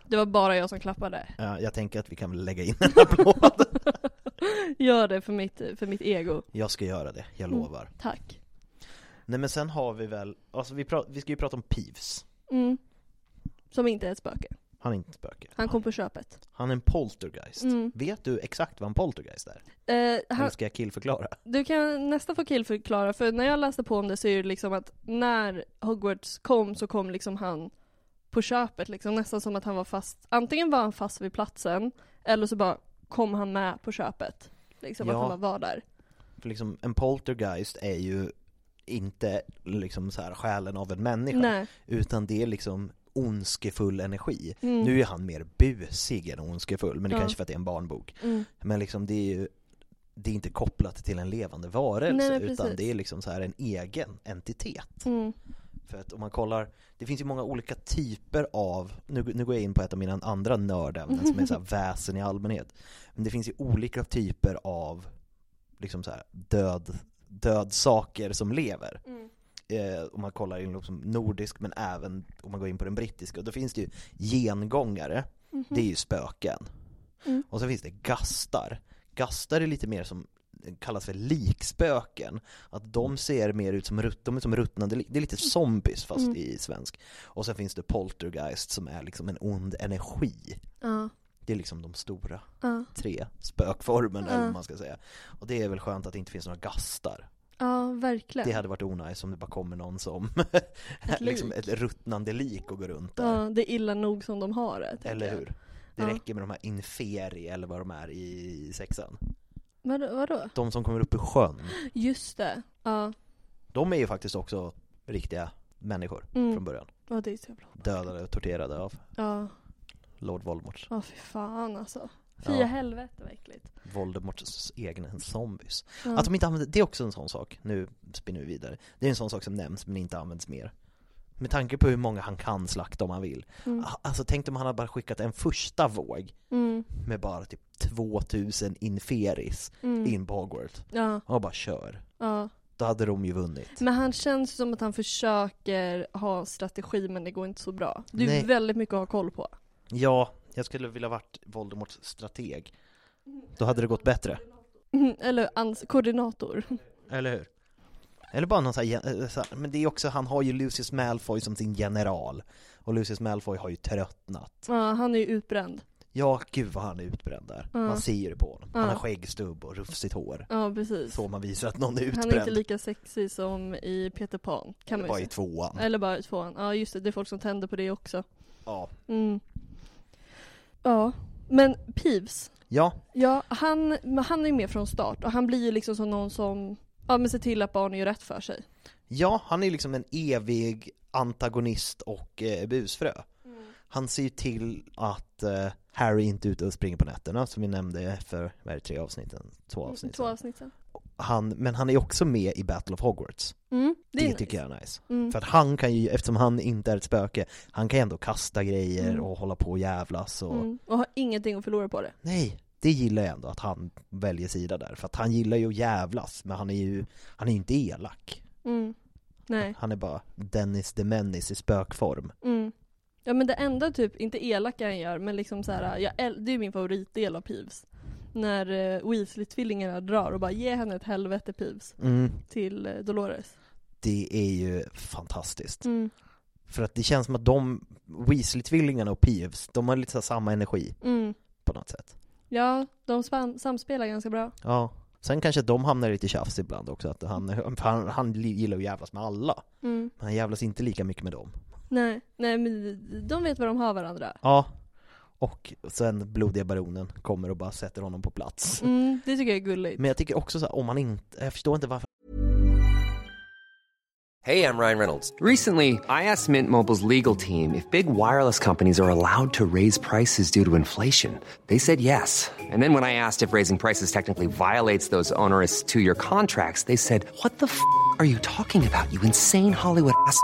B: Det var bara jag som klappade.
A: Ja, jag tänker att vi kan väl lägga in
B: <laughs>
A: en applåd.
B: Gör det för mitt, för mitt ego.
A: jag ska göra det, jag
B: Mm.
A: lovar.
B: Tack.
A: Nej men sen har vi väl, alltså vi, pra- vi ska ju prata om Peeves.
B: Mm. Som inte är ett spöke.
A: Han är inte ett spöke.
B: Han kom på köpet.
A: Han är en poltergeist.
B: Mm.
A: Vet du exakt vad en poltergeist är?
B: Eh,
A: Eller
B: han,
A: ska jag killförklara?
B: du kan nästan få killförklara, för när jag läste på om det så är det liksom att när Hogwarts kom så kom liksom han på köpet liksom, nästan som att han var fast, antingen var han fast vid platsen eller så bara kom han med på köpet. Liksom
A: Ja.
B: att han bara var där.
A: För liksom, en poltergeist är ju inte liksom så här själen av en människa.
B: Nej.
A: Utan det är liksom ondskefull energi. Nu är han mer busig än ondskefull, men det
B: Mm. Ja. Mm.
A: kanske för att det är en barnbok. Men liksom det är ju det är inte kopplat till en levande varelse
B: Nej, men
A: utan
B: precis.
A: det är liksom så här en egen entitet.
B: Mm.
A: För att om man kollar, det finns ju många olika typer av, nu, nu går jag in på ett av mina andra nördämnen som är
B: <laughs>
A: så här väsen i allmänhet. Men det finns ju olika typer av liksom så här, död, död saker som lever. Eh, om man kollar in liksom nordisk men även om man går in på den brittiska. Och då finns det ju gengångare, det är ju spöken. Och så finns det gastar. Gastar är lite mer som kallas för likspöken. Att de ser mer ut som, rut- de är som ruttnande lik. Det är lite zombies fast i svensk. Och sen finns det poltergeist som är liksom en ond energi.
B: Ja.
A: Det är liksom de stora
B: Ja.
A: tre spökformerna eller vad man ska säga. Och det är väl skönt att det inte finns några gastar.
B: ja, verkligen.
A: Det hade varit onajs om det bara kommer någon som <laughs> liksom ett ruttnande lik och går runt där.
B: ja, det är illa nog som de har det. tänker
A: Eller
B: jag.
A: hur? Det
B: Ja.
A: räcker med de här inferi eller vad de är i sexan.
B: Men vadå?
A: De som kommer upp ur sjön,
B: Just det. Ja,
A: de är ju faktiskt också riktiga människor från början.
B: ja det är så jävla...
A: Dödade och torterade av
B: Mm. Ja,
A: Lord Voldemort.
B: ja fy fan alltså. Fia
A: Ja.
B: helvete vad äckligt.
A: Voldemorts egna zombies.
B: Ja.
A: Att de inte använder, det är också en sån sak, nu spinner vi vidare. Det är en sån sak som nämns men inte används mer. Med tanke på hur många han kan slakta om han vill.
B: Mm.
A: Ah, Alltså tänk om han hade bara skickat en första våg
B: Mm.
A: med bara typ 2000 inferis
B: Mm.
A: in på Hogwarts.
B: Ja,
A: Och bara kör.
B: ja.
A: Då hade de ju vunnit.
B: Men han känns som att han försöker ha strategi men det går inte så bra. Det är
A: Nej.
B: ju väldigt mycket att ha koll på.
A: Ja, jag skulle vilja varit Voldemorts strateg. Då hade det gått bättre.
B: Mm, Eller ans- koordinator.
A: Eller hur? Eller bara någon sån här, gen- eh, så här, men det är också, han har ju Lucius Malfoy som sin general. Och Lucius Malfoy har ju tröttnat.
B: Ja, han är ju utbränd.
A: Ja, gud vad han är utbränd där.
B: Ja.
A: Man ser ju det på honom. Han
B: Ja.
A: har skäggstubb och rufsigt hår.
B: Ja, precis.
A: Så man visar att någon är
B: Han är inte
A: utbränd.
B: lika sexig som i Peter Pan, kan man ju
A: Bara i
B: säga.
A: tvåan.
B: Eller bara i tvåan. Ja, just det. Det är folk som tänder på det också.
A: Ja.
B: Mm. Ja, men Peeves.
A: ja,
B: Ja, han, men han är ju med från start och han blir ju liksom som någon som ja, men ser till att barnen gör rätt för sig.
A: Ja, han är liksom en evig antagonist och eh, busfrö. Han ser ju till att eh, Harry inte är ute och springer på nätterna som vi nämnde för, vad är det, tre avsnitten? Två avsnitt
B: Mm, Två
A: sedan.
B: avsnitt sen.
A: han, Men han är också med i Battle of Hogwarts.
B: Mm,
A: Det, tycker jag är nice.
B: Mm.
A: För att han kan ju, eftersom han inte är ett spöke, han kan ju ändå kasta grejer
B: Mm.
A: och hålla på och jävlas och
B: Mm. Och har ingenting att förlora på det.
A: Nej, det gillar jag ändå att han väljer sida där. För att han gillar ju att jävlas, men han är ju, han är ju inte elak.
B: Mm. Nej.
A: Han är bara Dennis the Menace i spökform.
B: Mm. Ja men det enda typ, inte elaka han gör, men liksom så här, jag, äl- det är ju min favoritdel av Peeves. När eh, Weasley-tvillingarna drar och bara ge henne ett helvete Peeves
A: Mm.
B: till eh, Dolores.
A: Det är ju fantastiskt.
B: Mm.
A: För att det känns som att de, Weasley-tvillingarna och Peeves, de har lite så här samma energi
B: Mm.
A: på något sätt.
B: Ja, de spam- samspelar ganska bra.
A: Ja. Sen kanske de hamnar lite tjafs ibland också, att han, för han, han gillar att jävlas med alla.
B: Mm.
A: Men han jävlas inte lika mycket med dem.
B: Nej, nej men de vet vad de har varandra.
A: Ja. Och sen blodiga baronen kommer och bara sätter honom på plats.
B: Mm, det tycker jag är gulligt.
A: Men jag tycker också så här, om man inte, jag förstår inte varför
E: Hey, I'm Ryan Reynolds. Recently, I asked Mint Mobile's legal team if big wireless companies are allowed to raise prices due to inflation. They said yes. And then when I asked if raising prices technically violates those onerous two year contracts, they said, What the f are you talking about, you insane Hollywood ass? f-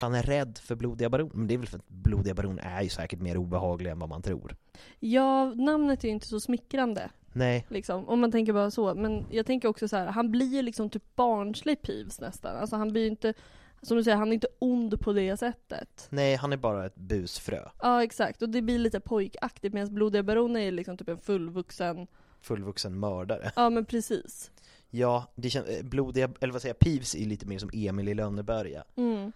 A: han är rädd för blodiga baron. Men det är väl för att blodiga baron är ju säkert mer obehagliga än vad man tror.
B: Ja, namnet är ju inte så smickrande.
A: Nej.
B: Liksom, om man tänker bara så. Men jag tänker också så här, han blir ju liksom typ barnslig Peeves nästan. Alltså han blir ju inte, som du säger, han är inte ond på det sättet.
A: Nej, han är bara ett busfrö.
B: Ja exakt, och det blir lite pojkaktigt medan Blodiga Baronen är liksom typ en fullvuxen,
A: Fullvuxen mördare.
B: ja men precis.
A: Ja, det känns, eh, blodiga, eller vad säger jag, Peeves är lite mer som Emil i Lönneberga.
B: Mm.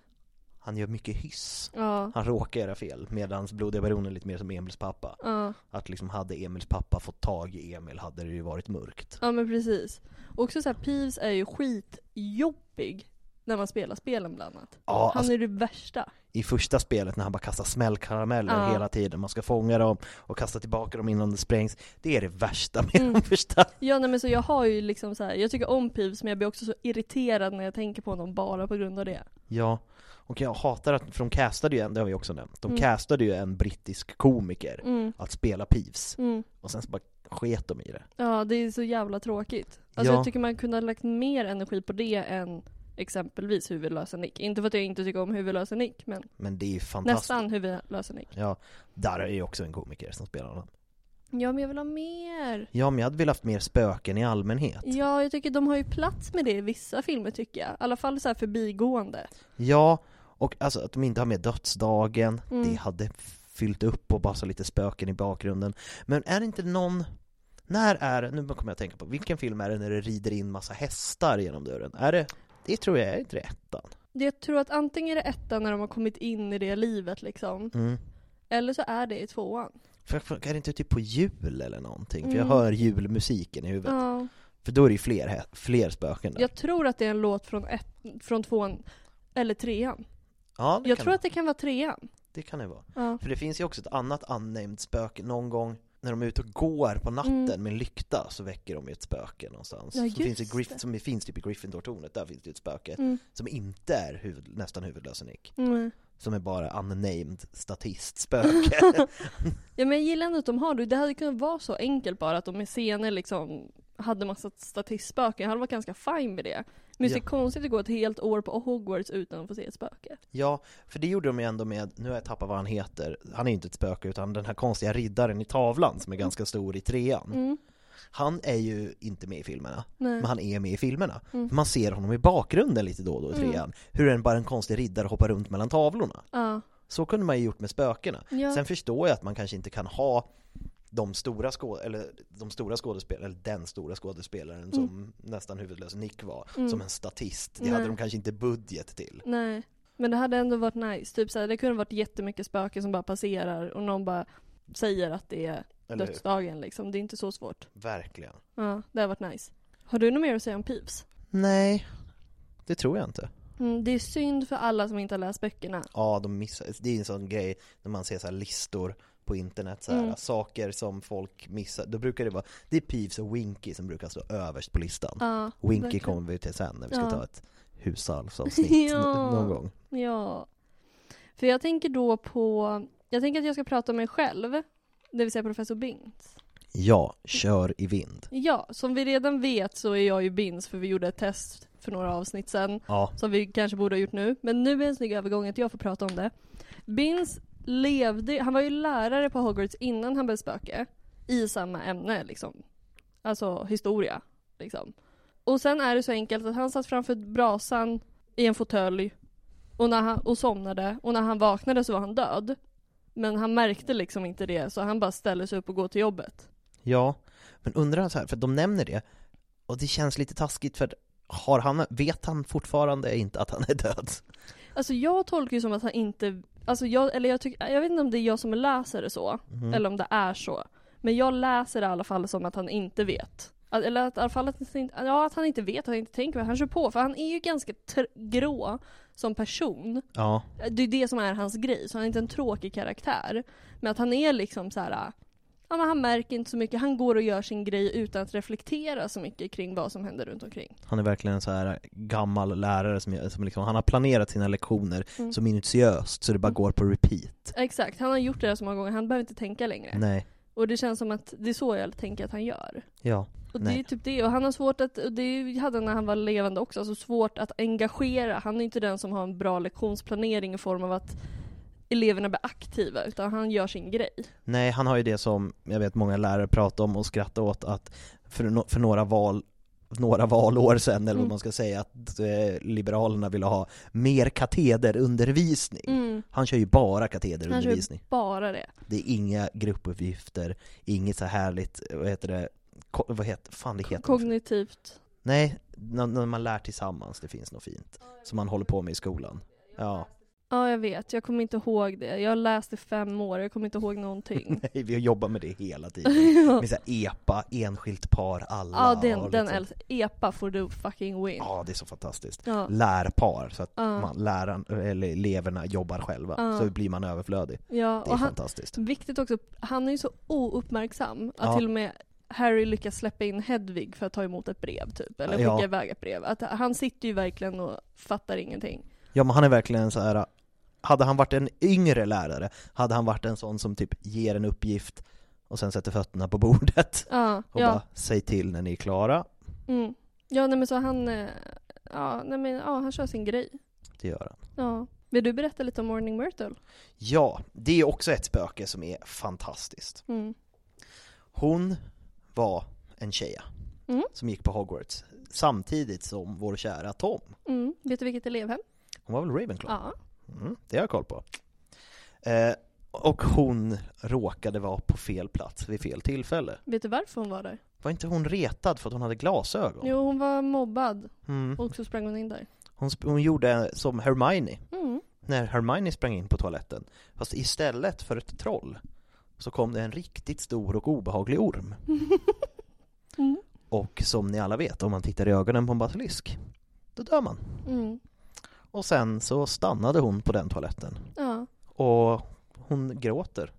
A: Han gör mycket hyss.
B: Ja,
A: Han råkar göra fel, medan blodiga baronen är lite mer som Emils pappa.
B: ja,
A: Att liksom hade Emils pappa fått tag i Emil hade det ju varit mörkt.
B: ja men precis. Och också så här, Peeves är ju skitjobbig när man spelar spelen bland annat.
A: Ja,
B: han
A: alltså-
B: är det värsta.
A: I första spelet när han bara kastar smällkarameller
B: Ja.
A: hela tiden, man ska fånga dem och kasta tillbaka dem innan det sprängs. Det är det värsta med de första
B: Ja nej, men så jag har ju liksom så här, jag tycker om Peeves men jag blir också så irriterad när jag tänker på honom bara på grund av det.
A: Ja, och jag hatar att, för de castade ju en, det har vi också nämnt, de castade ju en brittisk komiker att spela Peeves.
B: Mm.
A: Och sen så bara sket de i det.
B: Ja, det är så jävla tråkigt. Alltså
A: Ja.
B: jag tycker man kunde ha lagt mer energi på det än exempelvis huvudlösa Nick. Inte för att jag inte tycker om huvudlösa Nick, men
A: Men det är ju fantastiskt.
B: nästan huvudlösa Nick.
A: Ja, där är ju också en komiker som spelar honom.
B: Ja, men jag vill ha mer.
A: Ja, men jag hade velat haft mer spöken i allmänhet.
B: Ja, jag tycker de har ju plats med det i vissa filmer tycker jag. I alla fall så här förbigående. Mm.
A: Ja, och alltså att de inte har med dödsdagen, det hade fyllt upp och bara så lite spöken i bakgrunden. Men är det inte någon när är nu kommer jag att tänka på, vilken film är det när det rider in massa hästar genom dörren? Är det, det tror jag är inte det ettan.
B: Jag tror att antingen är det ettan när de har kommit in i det livet liksom,
A: Mm.
B: eller så är det i tvåan.
A: För, för, är det inte typ på jul eller någonting? För jag
B: Mm.
A: hör julmusiken i huvudet.
B: Ja.
A: För då är det ju fler, hä- fler spöken där.
B: Jag tror att det är en låt från, ett, från tvåan, eller trean.
A: ja, det
B: Jag
A: kan,
B: tror att det kan vara trean.
A: det kan det vara.
B: Ja.
A: För det finns ju också ett annat unnamed spöke någon gång när de är ute och går på natten
B: Mm.
A: med en lykta så väcker de ju ett spöke någonstans.
B: Ja,
A: som, finns i
B: just
A: Griff,
B: det.
A: som finns typ i Gryffindor-tornet, där finns det ju ett spöke
B: Mm.
A: som inte är huvud, nästan huvudlösa Nick.
B: Mm.
A: Som är bara unnamed statistspöke.
B: Ja men jag gillar ändå att de har det. Det hade kunnat vara så enkelt bara att de i scener liksom hade massa statistspöken. Jag hade varit ganska fine med det. Men det är
A: Ja.
B: konstigt att gå ett helt år på Hogwarts utan att få se ett spöke.
A: ja, för det gjorde de ju ändå med, nu har jag tappat vad han heter, han är ju inte ett spöke utan den här konstiga riddaren i tavlan som är ganska stor i trean.
B: Mm.
A: Han är ju inte med i filmerna,
B: Nej. Mm.
A: men han är med i filmerna. Man ser honom i bakgrunden lite då och då i trean. Hur en bara en konstig riddare hoppar runt mellan tavlorna.
B: Ja.
A: Så kunde man ju gjort med spökena.
B: Ja.
A: Sen förstår jag att man kanske inte kan ha de stora, skå- eller de stora skådespelarna, eller den stora skådespelaren som nästan huvudlös Nick var, som en statist. Det hade
B: Mm. Nej.
A: de kanske inte budget till.
B: Nej. Men det hade ändå varit nice. Typ såhär, det kunde varit jättemycket spöken som bara passerar och någon bara säger att det är
A: Eller hur?
B: dödsdagen liksom. Det är inte så svårt.
A: Verkligen.
B: Ja, det hade varit nice. Har du något mer att säga om Peeves?
A: Nej, det tror jag inte.
B: Mm, det är synd för alla som inte har läst böckerna.
A: Ja, de missar, det är en sån grej när man ser så här listor på internet, så här,
B: Mm.
A: saker som folk missar. Då brukar det vara, det är Peeves och Winky som brukar stå överst på listan.
B: Ja,
A: Winky
B: verkligen.
A: kommer vi till sen när vi ska
B: Ja.
A: ta ett husalvsavsnitt
B: <laughs> Ja.
A: någon gång.
B: Ja. För jag tänker då på, jag tänker att jag ska prata om mig själv, det vill säga professor Binks.
A: Ja, kör i vind.
B: Ja, som vi redan vet så är jag ju Bins för vi gjorde ett test för några avsnitt sedan
A: Ja,
B: som vi kanske borde ha gjort nu. Men nu är en snygg övergång att jag får prata om det. Bins levde, han var ju lärare på Hogwarts innan han blev spöke. I samma ämne liksom. Alltså historia. Liksom. Och sen är det så enkelt att han satt framför brasan i en fåtölj och, när han- och somnade och när han vaknade så var han död. Men han märkte liksom inte det så han bara ställde sig upp och går till jobbet.
A: ja. Men undrar så här, för de nämner det, och det känns lite taskigt för har han, vet han fortfarande inte att han är död?
B: Alltså jag tolkar ju som att han inte, alltså jag, eller jag, tyck, jag vet inte om det är jag som läser det så, eller om det är så. Men jag läser det i alla fall som att han inte vet. Att- Eller att, i alla fall att, han inte- ja, att han inte vet, att han inte tänker, men han kör på. För han är ju ganska tr- grå som person.
A: Ja,
B: Det är det som är hans grej, så han är inte en tråkig karaktär. Men att han är liksom så här. Ja, men han märker inte så mycket, han går och gör sin grej utan att reflektera så mycket kring vad som händer runt omkring.
A: han är verkligen en så här gammal lärare som, gör- som liksom, han har planerat sina lektioner så minutiöst så det bara går på repeat.
B: Exakt, han har gjort det här så många gånger, han behöver inte tänka längre.
A: Nej,
B: Och det känns som att det är så jag tänker att han gör.
A: ja.
B: Och det
A: Nej.
B: är typ det. Och han har svårt att, och det hade han när han var levande också, alltså svårt att engagera. Han är inte den som har en bra lektionsplanering i form av att eleverna blir aktiva, utan han gör sin grej.
A: Nej, han har ju det som jag vet många lärare pratar om och skrattar åt att för, no- för några val några valår sedan eller vad man ska säga att eh, Liberalerna ville ha mer katederundervisning. Mm. Han kör ju bara
B: Mm. Han kör ju
A: katederundervisning.
B: bara det.
A: Det är inga gruppuppgifter, inget så härligt, eh, vad heter det, Ko- vad heter, fan det heter
B: Kognitivt.
A: Nej, när, när man lär tillsammans, det finns något fint som man håller på med i skolan. Ja,
B: Ja, jag vet. Jag kommer inte ihåg det. Jag har läst i fem år, jag kommer inte
A: <laughs>
B: ihåg någonting.
A: nej, vi jobbar med det hela tiden.
B: <laughs>
A: Med så här EPA, enskilt par, alla.
B: Ja,
A: och
B: den, den
A: liksom-
B: älskar EPA for the fucking win.
A: Ja, det är så fantastiskt.
B: Ja.
A: Lärpar, så att man, läraren, eller eleverna jobbar själva, så blir man överflödig.
B: Ja,
A: Det är
B: och han,
A: fantastiskt.
B: Viktigt också, han är ju så ouppmärksam att
A: Ja.
B: till och med Harry lyckas släppa in Hedvig för att ta emot ett brev typ, eller skicka
A: Ja.
B: iväg ett brev. Att han sitter ju verkligen och fattar ingenting.
A: Ja, men han är verkligen så här. hade han varit en yngre lärare, hade han varit en sån som typ ger en uppgift och sen sätter fötterna på bordet
B: Ja,
A: och
B: ja.
A: bara säg till när ni är klara.
B: Mm. Ja, nej men så han, eh, ja, nej men, ja, han kör sin grej.
A: Det gör han.
B: Ja. Vill du berätta lite om Morning Myrtle?
A: Ja, det är också ett spöke som är fantastiskt.
B: Mm.
A: Hon var en tjeja
B: Mm.
A: som gick på Hogwarts samtidigt som vår kära Tom.
B: Mm. Vet du vilket elevhem?
A: Hon var väl Ravenclaw?
B: Ja.
A: Mm, det har jag koll på. Eh, Och hon råkade vara på fel plats vid fel tillfälle.
B: Vet du varför hon var där?
A: Var inte hon retad för att hon hade glasögon?
B: Jo, hon var mobbad
A: Mm.
B: och så sprang hon in där.
A: Hon, sp- hon gjorde som Hermione,
B: Mm.
A: när Hermione sprang in på toaletten. Fast istället för ett troll så kom det en riktigt stor och obehaglig orm.
B: <laughs> Mm.
A: Och som ni alla vet, om man tittar i ögonen på en basilisk, då dör man.
B: Mm.
A: Och sen så stannade hon på den toaletten.
B: Ja.
A: Och hon gråter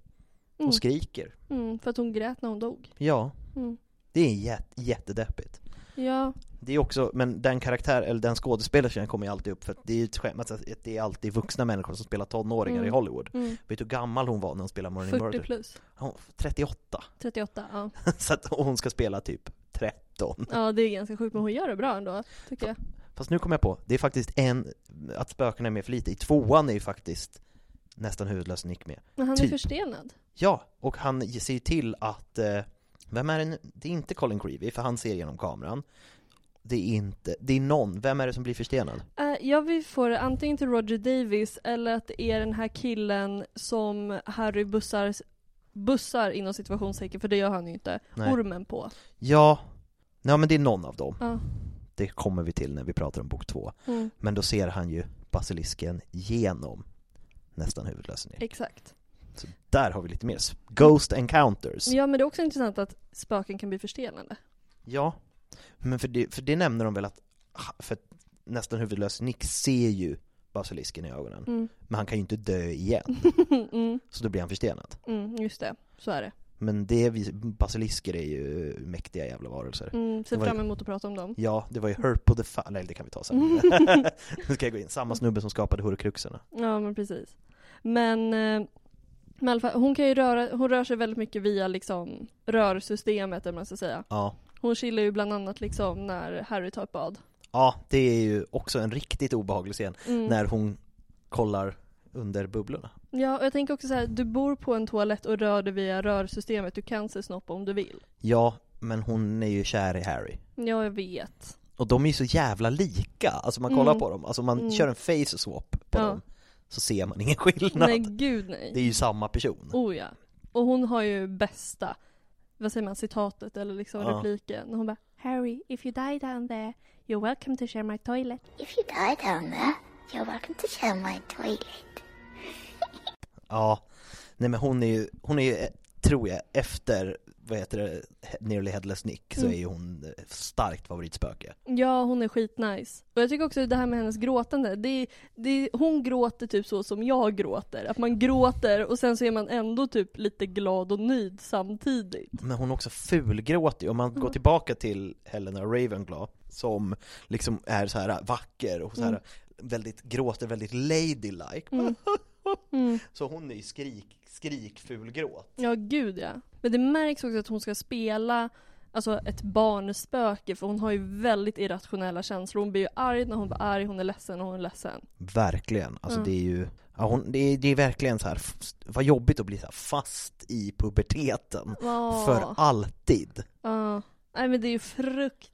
A: och
B: Mm.
A: skriker.
B: Mm, för att hon grät när hon dog.
A: Ja,
B: Mm.
A: det är jät- jättedeppigt.
B: Ja,
A: Det är också, men den karaktär, eller den skådespelerskan kommer ju alltid upp för att det är ju ett skämt att det är alltid vuxna människor som spelar tonåringar
B: Mm.
A: i Hollywood.
B: mm.
A: Vet du hur gammal hon var när hon spelade Morning
B: 40
A: Murder?
B: plus.
A: Hon, 38.
B: 38, ja.
A: <laughs> Så att och hon ska spela typ 13.
B: Ja, det är ganska sjukt men hon gör det bra ändå, tycker jag.
A: Fast nu kommer jag på, det är faktiskt en, att spökena är med för lite. I tvåan är ju faktiskt nästan huvudlös Nick med.
B: Men han är
A: Typ.
B: förstelnad.
A: Ja, och han ser ju till att, eh, vem är det nu? Det är inte Colin Creevy, för han ser genom kameran. Det är inte, det är någon, vem är det som blir förstenad?
B: Eh, Jag vill få det antingen till Roger Davis eller att det är den här killen som Harry bussar, bussar inom situationstecken, för det gör han ju inte,
A: Nej.
B: ormen på.
A: Ja, ja men det är någon av dem.
B: Ja.
A: Det kommer vi till när vi pratar om bok två.
B: Mm.
A: Men då ser han ju basilisken genom nästan huvudlösen in.
B: Exakt.
A: Så där har vi lite mer. s- Ghost encounters.
B: Ja men det är också intressant att spöken kan bli förstelande.
A: Ja, men för det, för det nämner de väl att, för att nästan huvudlös Nick ser ju basilisken i ögonen.
B: Mm.
A: Men han kan ju inte dö igen,
B: <laughs> mm,
A: så då blir han förstenad.
B: mm, just det, så är det.
A: Men det, vis- basilisker är ju mäktiga jävla varelser.
B: Mm,
A: Det
B: ser
A: var ju-
B: fram emot att prata om dem.
A: Ja, det var ju Herpo the Fa- nej det kan vi ta
B: <laughs>
A: sen. nu ska jag gå in, samma snubbe som skapade Horcruxerna.
B: Ja men precis. Men, eh, men i alla fall, hon kan ju röra, hon rör sig väldigt mycket via liksom rörsystemet eller vad man ska säga.
A: Ja.
B: Hon chillar ju bland annat liksom när Harry tar ett bad.
A: ja, det är ju också en riktigt obehaglig scen,
B: Mm.
A: när hon kollar under bubblorna.
B: Ja, och jag tänker också så här, du bor på en toalett och rör dig via rörsystemet, du kan se snopp om du vill.
A: Ja, men hon är ju kär i Harry.
B: Ja, jag vet.
A: Och de är ju så jävla lika, alltså man kollar
B: Mm.
A: på dem, alltså man
B: Mm.
A: kör en face swap på
B: Ja.
A: dem så ser man ingen skillnad.
B: Nej, gud nej.
A: Det är ju samma person.
B: Oh ja. Och hon har ju bästa, vad säger man, citatet eller liksom
A: Ja.
B: repliken. Hon bara Harry, if you die down there, you're welcome to share my toilet.
F: If you die down there, you're welcome to share my toilet.
A: Ja, nej men hon är ju, hon är ju eh, tror jag, efter, vad heter det, He- Nearly Headless Nick så
B: Mm.
A: är ju hon eh, starkt favoritspöke.
B: Ja, hon är skitnice. Och jag tycker också det här med hennes gråtande, det är, det är, hon gråter typ så som jag gråter. Att man gråter och sen så är man ändå typ lite glad och nöjd samtidigt.
A: Men hon är också fulgråtig, om man går tillbaka till Helena Ravenclaw som liksom är så här vacker och så här väldigt, gråter väldigt ladylike. <laughs> Så hon är ju skrik, skrikfulgråt.
B: Ja, gud ja. Men det märks också att hon ska spela Alltså ett barnspöke för hon har ju väldigt irrationella känslor. Hon blir ju arg när hon blir arg, hon är ledsen när hon är ledsen.
A: Verkligen, alltså det är ju, ja, hon, det, är, det är verkligen så här, f- vad jobbigt att bli så här fast i puberteten.
B: Ja.
A: För alltid.
B: Ja. Nej men det är ju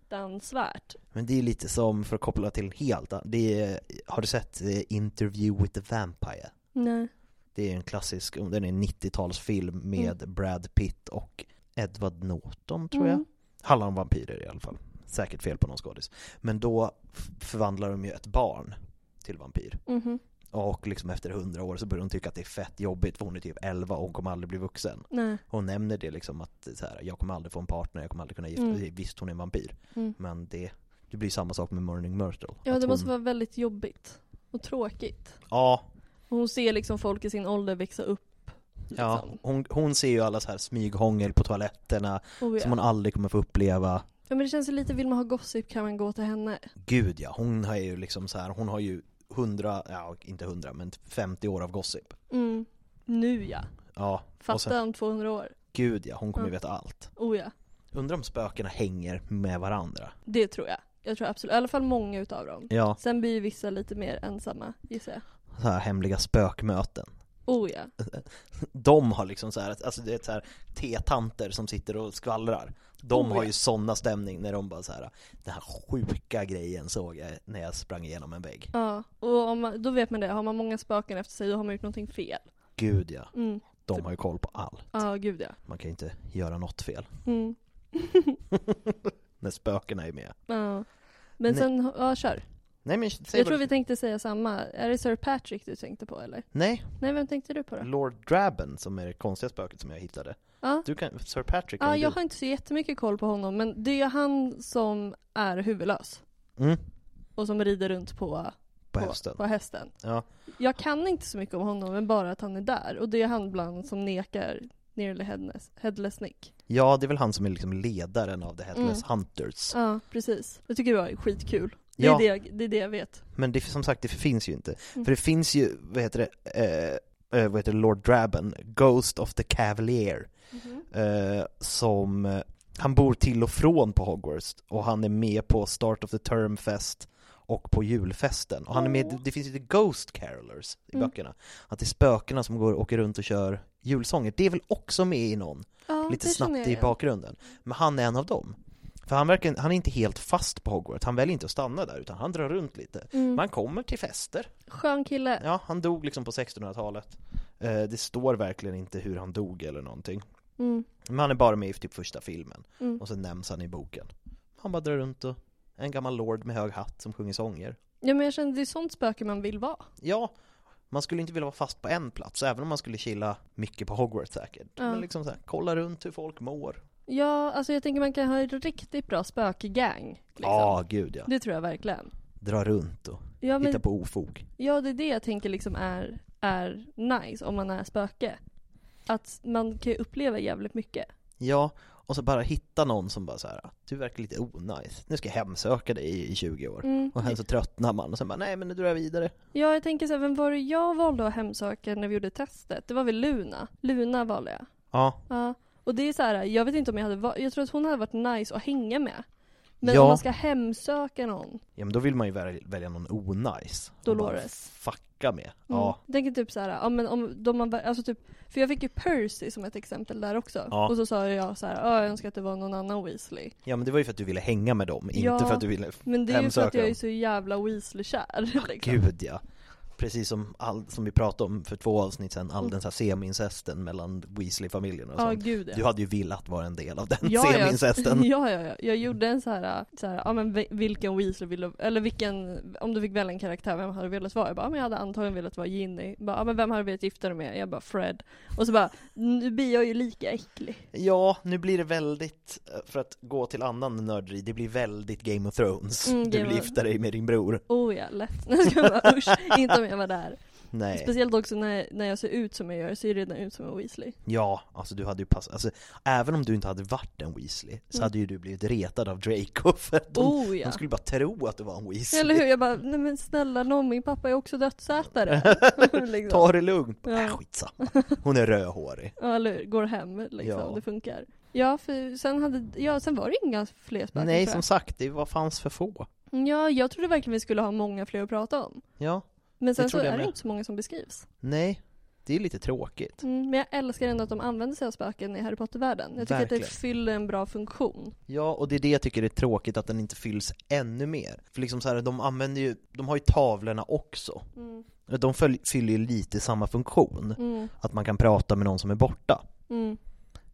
B: fruktansvärt.
A: Men det är lite som, för att koppla till helt, det är, har du sett eh, Interview with the Vampire?
B: Nej.
A: Det är en klassisk, den är en 90-talsfilm med Brad Pitt och Edward Norton tror jag.
B: Mm.
A: Handlar om vampyrer i alla fall. Säkert fel på någon skådis. Men då f- förvandlar de ju ett barn till vampyr.
B: Mhm.
A: Och liksom efter hundra år så börjar hon tycka att det är fett jobbigt för hon är typ 11 och hon kommer aldrig bli vuxen.
B: Nej.
A: Hon nämner det liksom att så här, jag kommer aldrig få en partner, jag kommer aldrig kunna gifta
B: Mm.
A: mig. Visst hon är en vampyr.
B: Mm.
A: Men det, det blir samma sak med Morning Myrtle.
B: Ja
A: Att
B: det måste
A: hon-
B: vara väldigt jobbigt. Och tråkigt.
A: Ja,
B: Och hon ser liksom folk i sin ålder växa upp.
A: ja.
B: Liksom.
A: Hon, hon ser ju alla så här smyghångel på toaletterna
B: Oh, ja.
A: som hon aldrig kommer få uppleva.
B: ja men det känns ju lite, vill man ha gossip kan man gå till henne.
A: Gud ja, hon har ju liksom så här, hon har ju hundra, ja inte hundra men 50 år av gossip.
B: Mm. Nu ja.
A: Ja, och
B: Fatta
A: sen,
B: om 200 år.
A: gud ja, hon kommer ju
B: Mm.
A: veta allt.
B: Oh ja.
A: Undrar om spökena hänger med varandra?
B: Det tror jag. Jag tror absolut, i alla fall många utav dem.
A: Ja,
B: Sen blir ju vissa lite mer ensamma gissar jag.
A: så här hemliga spökmöten.
B: Oh ja.
A: De har liksom så här, alltså det är så här tetanter som sitter och skvallrar. De
B: Oh,
A: har
B: ja.
A: ju såna stämning när de bara så här, den här sjuka grejen såg jag när jag sprang igenom en vägg.
B: Ja, och om man, då vet man det. Har man många spöken efter sig då har man gjort någonting fel.
A: Gud ja.
B: Mm.
A: De har ju koll på allt.
B: Ja, gud ja.
A: Man kan ju inte göra något fel.
B: Mm.
A: <laughs> När spökena är med.
B: Ja. Men
A: Nej.
B: sen, ja kör.
A: Nej men säg
B: Jag
A: vad
B: tror
A: du-
B: vi tänkte säga samma. Är det Sir Patrick du tänkte på eller?
A: Nej,
B: Nej, vem tänkte du på då?
A: Lord Draben som är det konstiga spöket som jag hittade.
B: Ja,
A: Du kan, Sir Patrick
B: ja
A: kan ju
B: jag
A: du.
B: har inte så jättemycket koll på honom, men det är ju han som är huvudlös.
A: Mm,
B: Och som rider runt på,
A: på hösten.
B: på hästen.
A: Ja.
B: Jag kan inte så mycket om honom, men bara att han är där. Och det är han bland som nekar Nearly Headless, headless Nick.
A: ja, det är väl han som är liksom ledaren av The Headless Hunters.
B: Mm. Ja, precis. Det tycker jag är skitkul. Det,
A: Ja.
B: är, det, jag, det är det jag vet.
A: Men det, som sagt, det finns ju inte. För det finns ju, vad heter det, eh, eh, vad heter det, Lord Draben, Ghost of the Cavalier. Eh, som, eh, han bor till och från på Hogwarts och han är med på Start of the Term Fest och på julfesten. Och han är med, det finns ju The Ghost Carolers i böckerna. Att det är spökena som går och åker runt och kör julsånger. Det är väl också med i någon,
B: Ja,
A: lite
B: det känner
A: snabbt
B: jag
A: i
B: igen.
A: bakgrunden. Men han är en av dem. För han, verkar, han är inte helt fast på Hogwarts, han väljer inte att stanna där utan han drar runt lite.
B: Mm.
A: Man kommer till fester.
B: Skön kille.
A: Ja, han dog liksom på 1600-talet. Eh, det står verkligen inte hur han dog eller någonting.
B: Mm.
A: Men han är bara med i typ första filmen
B: Mm.
A: och sen nämns han i boken. Han bara drar runt och en gammal lord med hög hatt som sjunger sånger.
B: Ja, men jag känner det är sånt spöke man vill vara.
A: Ja, man skulle inte vilja vara fast på en plats även om man skulle chilla mycket på Hogwarts säkert.
B: Ja.
A: Men liksom så här, kolla runt hur folk mår.
B: Ja, alltså jag tänker man kan ha en riktigt bra spökegang. Liksom.
A: Ja, gud ja.
B: Det tror jag verkligen.
A: Dra runt och
B: Ja,
A: hitta
B: men,
A: på ofog.
B: ja, det är det jag tänker liksom är, är nice om man är spöke. Att man kan ju uppleva jävligt mycket.
A: Ja, och så bara hitta någon som bara så här, du verkar lite onajs, nu ska jag hemsöka dig i- i 20 år.
B: Mm.
A: Och sen så tröttnar man och sen bara, nej men nu drar jag vidare.
B: Ja, jag tänker så här, vem var det jag valde att hemsöka när vi gjorde testet? Det var väl Luna? Luna valde jag.
A: Ja,
B: Ja. Och det är så här, jag vet inte om jag hade va- jag tror att hon hade varit nice att hänga med. Men
A: Ja.
B: om man ska hemsöka någon. Mm.
A: ja men då vill man ju väl- välja någon onajs. och bara
B: Dolores.
A: Fucka med.
B: Mm.
A: Ja,
B: Jag tänker typ så här, ja, men om de man, alltså typ, för jag fick ju Percy som ett exempel där också.
A: Ja.
B: Och så sa jag så här, ja, jag önskar att det var någon annan Weasley.
A: ja men det var ju för att du ville hänga med dem, inte
B: Ja,
A: för att du ville
B: Men det är ju för
A: hemsöka
B: att jag är
A: dem.
B: så jävla Weasley-kär. <laughs> Liksom.
A: Gud ja. Precis som, all, som vi pratade om för två avsnitt sedan, all den så här semincesten mellan Weasley-familjen och
B: Mm. Ja,
A: sånt.
B: gud, ja.
A: Du hade ju velat vara en del av den <laughs>
B: ja,
A: semincesten.
B: <laughs> ja, ja, jag gjorde en så här, så här ja, men vi- vilken Weasley vill du, eller vilken, om du fick välja en karaktär, vem hade du velat vara? Jag bara, ja, men jag hade antagligen velat vara Ginny. Bara, ja, men vem hade du velat gifta dig med? Jag bara, Fred. Och så bara, nu blir jag ju lika äcklig.
A: Ja, nu blir det väldigt, eh, för att gå till annan nörderi, det blir väldigt Game of Thrones.
B: Mm,
A: du
B: Game
A: vill
B: of-
A: gifta dig med din bror.
B: Oh ja, lätt. <laughs> Nu ska jag bara, usch, inte om jag var där.
A: <laughs> Nej.
B: Speciellt också när, när jag ser ut som jag gör, jag ser ju redan ut som en Weasley.
A: ja, alltså du hade ju passat, alltså även om du inte hade varit en Weasley så hade ju du blivit retad av Draco <laughs> för att de,
B: Mm. Oh, ja.
A: de skulle bara tro att du var en Weasley.
B: Eller hur? Jag bara, nej men snälla någon, min pappa är
A: <laughs>
B: också dödsätare. liksom.
A: Ta det lugnt!
B: Ja.
A: Äh, skitsamma. Hon är rödhårig.
B: Ja eller hur? går hem liksom,
A: Ja.
B: det funkar. Ja, för sen, hade, ja, sen var det inga fler spöken
A: Nej,
B: tror
A: som
B: jag.
A: sagt, det var fanns för få.
B: Ja, jag trodde verkligen vi skulle ha många fler att prata om.
A: Ja,
B: Men sen
A: Det
B: så
A: trodde jag
B: är det
A: med.
B: inte så många som beskrivs.
A: nej, det är lite tråkigt.
B: Mm, men jag älskar ändå att de använder sig av spöken i Harry Potter-världen. Jag tycker att
A: Verkligen.
B: det fyller en bra funktion.
A: Ja, och det är det jag tycker är tråkigt, att den inte fylls ännu mer. För liksom så här, de använder ju, de har ju tavlorna också. De följ, fyller ju lite samma funktion, att man kan prata med någon som är borta.
B: Mm.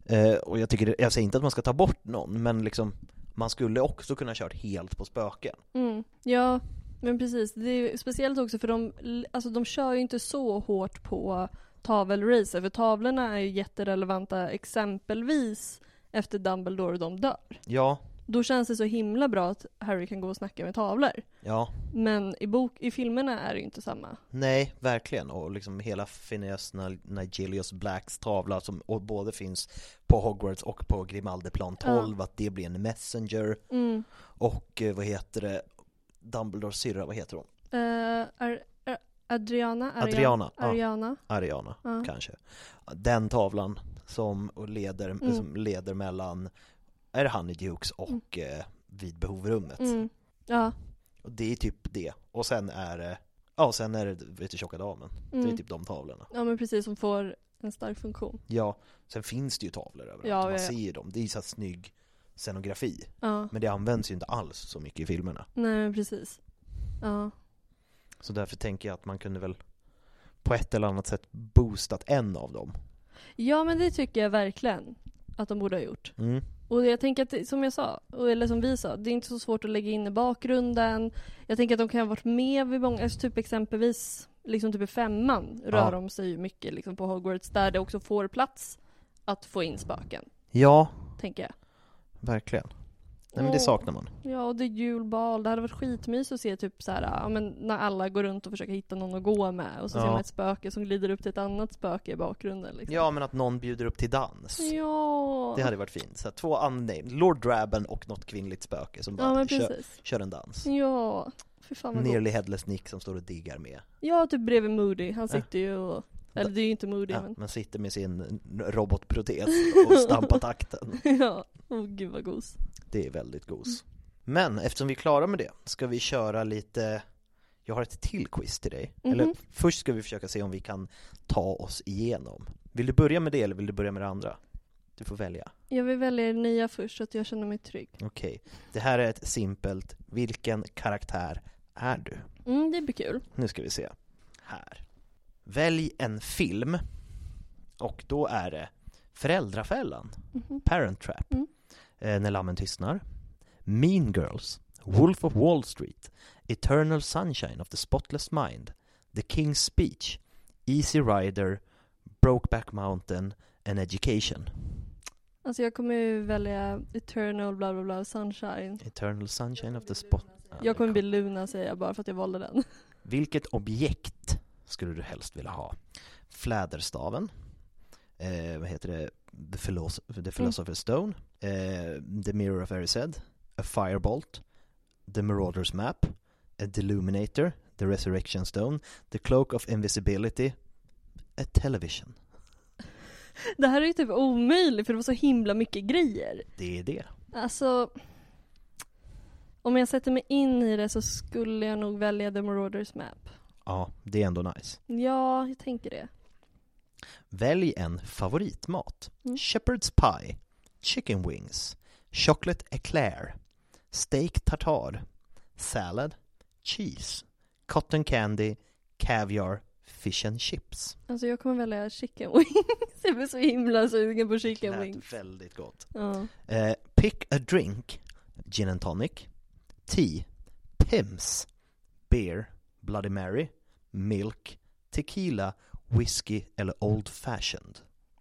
A: Eh, och jag, tycker, jag säger inte att man ska ta bort någon, men liksom man skulle också kunna ha kört helt på spöken.
B: Mm. Ja, men precis. Det är ju speciellt också för de, alltså, de kör ju inte så hårt på tavelracer, för tavlorna är ju jätterelevanta exempelvis efter Dumbledore och de dör.
A: Ja,
B: Då känns det så himla bra att Harry kan gå och snacka med tavlor.
A: ja,
B: Men i, bok, i filmerna är det ju inte samma.
A: nej, verkligen. Och liksom hela Phineas Nigel- Nigelius Blacks tavla som och både finns på Hogwarts och på Grimaldeplan 12, att det blir en messenger.
B: Mm.
A: Och eh, vad heter det, Dumbledores syrra, vad heter hon?
B: Eh, Ar- Ar- Adriana? Arian-
A: Adriana, ja.
B: Ariana.
A: Ariana,
B: Mm.
A: kanske. Den tavlan som och leder,
B: Mm.
A: som leder mellan, är det Honeydukes och eh, vid behovrummet.
B: Mm. Ja.
A: Och det är typ det. Och sen är det, ja och sen är det vet du, Tjocka Damen. Det är
B: Mm.
A: typ de tavlorna.
B: ja, men precis. Som får en stark funktion.
A: Ja, sen finns det ju tavlor överallt.
B: Ja,
A: Man
B: ja, ja.
A: ser ju dem. Det är ju så här snygg scenografi.
B: Ja,
A: Men det används ju inte alls så mycket i filmerna.
B: nej men precis. Ja.
A: Så därför tänker jag att man kunde väl på ett eller annat sätt boostat en av dem.
B: Ja men det tycker jag verkligen att de borde ha gjort.
A: Mm.
B: Och jag tänker att, det- som jag sa, och- eller som vi sa, det är inte så svårt att lägga in i bakgrunden. Jag tänker att de kan ha varit med vid många, alltså typ exempelvis, liksom typ i femman rör
A: Ja.
B: de sig ju mycket liksom på Hogwarts där det också får plats att få in spöken,
A: Ja,
B: tänker jag.
A: verkligen. Nej men det
B: Och-
A: saknar man.
B: Ja, och det är julbal. Det hade varit skitmys att se typ så här, ja, men när alla går runt och försöker hitta någon att gå med och så ser
A: Ja.
B: man ett spöke som glider upp till ett annat spöke i bakgrunden. Liksom.
A: Ja men att någon bjuder upp till dans.
B: Ja.
A: Det hade varit fint. Så här, två unnamed, Lord Draben och något kvinnligt spöke som
B: ja,
A: bara
B: men
A: kör,
B: precis.
A: kör en dans.
B: Ja. Fy fan vad gott.
A: Nearly headless Nick som står och diggar med.
B: Ja, typ bredvid Moody. Han
A: Ja.
B: sitter ju och... Eller det är ju inte Moody
A: Äh. Ja,
B: men... <laughs>
A: men sitter med sin robotprotes och stampar takten.
B: ja. Åh gud vad gos.
A: Det är väldigt gos. Men eftersom vi är klara med det ska vi köra lite Jag har ett till quiz till dig.
B: Mhm.
A: Eller först ska vi försöka se om vi kan ta oss igenom. Vill du börja med det eller vill du börja med det andra? Du får välja.
B: Jag vill välja det nya först så att jag känner mig trygg.
A: Okej. Det här är ett simpelt Vilken karaktär är du?
B: Mm, det blir kul.
A: Nu ska vi se. Här. Välj en film. Och då är det Föräldrafällan, Parent Trap,
B: Mm.
A: eh, När lammen tystnar, Mean Girls, Wolf of Wall Street, Eternal Sunshine of the Spotless Mind, The King's Speech, Easy Rider, Brokeback Mountain and Education.
B: Alltså jag kommer ju välja Eternal bla bla bla sunshine.
A: Eternal Sunshine of the Spot... Ja, det
B: Jag kommer
A: kom.
B: bli Luna säger jag bara för att jag valde den. <laughs>
A: Vilket objekt skulle du helst vilja ha? Fläderstaven, eh, vad heter det, The, Philos- the Philosopher's Stone, eh, The Mirror of Erised, A Firebolt, The Marauder's Map, A Deluminator, The Resurrection Stone, The Cloak of Invisibility, A Television.
B: Det här är ju typ omöjligt för det var så himla mycket grejer.
A: Det är det.
B: Alltså, om jag sätter mig in i det så skulle jag nog välja The Marauders Map.
A: Ja, det är ändå nice.
B: Ja, jag tänker det.
A: Välj en favoritmat.
B: Mm.
A: Shepherd's pie, chicken wings, chocolate eclair, steak tartar, salad, cheese, cotton candy, caviar, fish and chips.
B: Alltså jag kommer välja chicken wings. <laughs> Jag blir så himla sugen på chicken wings.
A: Lät väldigt gott.
B: Ja.
A: Eh, pick a drink, gin and tonic, tea, pims, beer, bloody mary, milk, tequila, whisky eller old fashioned.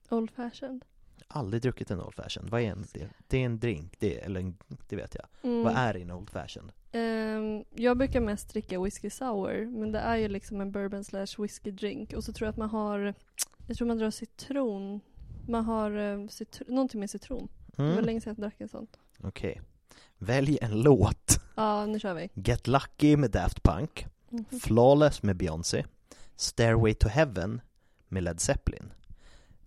B: Old fashioned.
A: aldrig druckit en Old Fashioned. Vad är en, det? Det är en drink, det, eller en, det vet jag.
B: Mm.
A: Vad är en Old Fashioned?
B: Ehm, jag brukar mest dricka whisky sour, men det är ju liksom en bourbon slash whisky drink. Och så tror jag att man har, jag tror man drar citron. Man har eh, citr- någonting med citron. Det var
A: Mm.
B: länge sedan jag drack en sån.
A: Okej. Välj en låt.
B: Ja, nu kör vi.
A: Get Lucky med Daft Punk,
B: Mhm.
A: Flawless med Beyoncé, Stairway to Heaven med Led Zeppelin,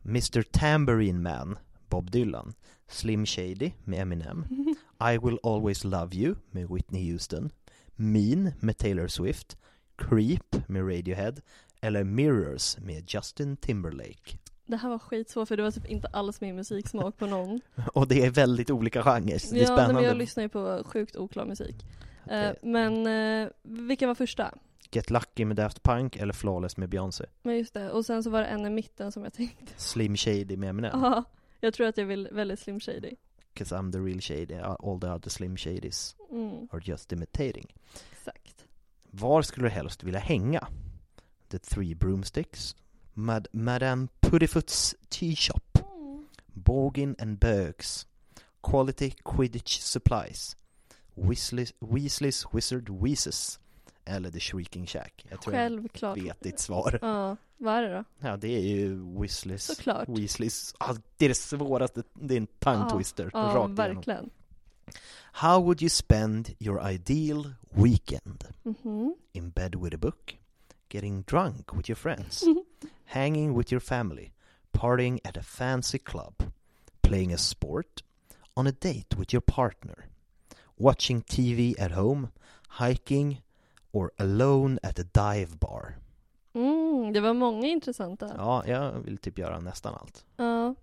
A: Mr Tambourine Man, Bob Dylan, Slim Shady med Eminem,
B: Mhm.
A: I Will Always Love You med Whitney Houston, Mean med Taylor Swift, Creep med Radiohead eller Mirrors med Justin Timberlake. <laughs>
B: Det här var skitsvårt för det var typ inte alls min musiksmak på någon.
A: Och <laughs> det är väldigt olika genrer, det är
B: ja, nej, men
A: spännande.
B: jag lyssnar ju på sjukt oklar musik. Eh,
A: Okej.
B: men eh, vilka var första?
A: Get Lucky med Daft Punk eller Flawless med Beyoncé,
B: Men just det, och sen så var det en i mitten som jag tänkte.
A: Slim Shady med Eminem.
B: Ja, jag tror att jag vill väldigt Slim Shady.
A: Cause I'm the real shady, all the other slim shadies
B: Mm,
A: are just imitating.
B: exakt.
A: Var skulle du helst vilja hänga? The Three Broomsticks, Mad Madame Puddifoot's Tea Shop, Borgin and Bergs, Quality Quidditch Supplies, Weasley's, Weasley's Wizard Weezes, eller The Shrieking Shack. Jag tror
B: Självklart.
A: jag vet ditt svar.
B: Ja, vad är det då?
A: Ja, det är ju Weasleys.
B: Såklart.
A: Weasleys. Ah, det är det svåraste, det är en tongue twister.
B: Ja,
A: rakt igenom.
B: verkligen.
A: How would you spend your ideal weekend?
B: Mhm.
A: In bed with a book? Getting drunk with your
B: <laughs>
A: friends?
B: Mm-hmm.
A: hanging with your family? Partying at a fancy club? Playing a sport? On a date with your partner? Watching TV at home? Hiking? Or alone at a dive bar?
B: Mm, det var många intressanta. Ja.
A: Ja, jag vill typ göra nästan allt.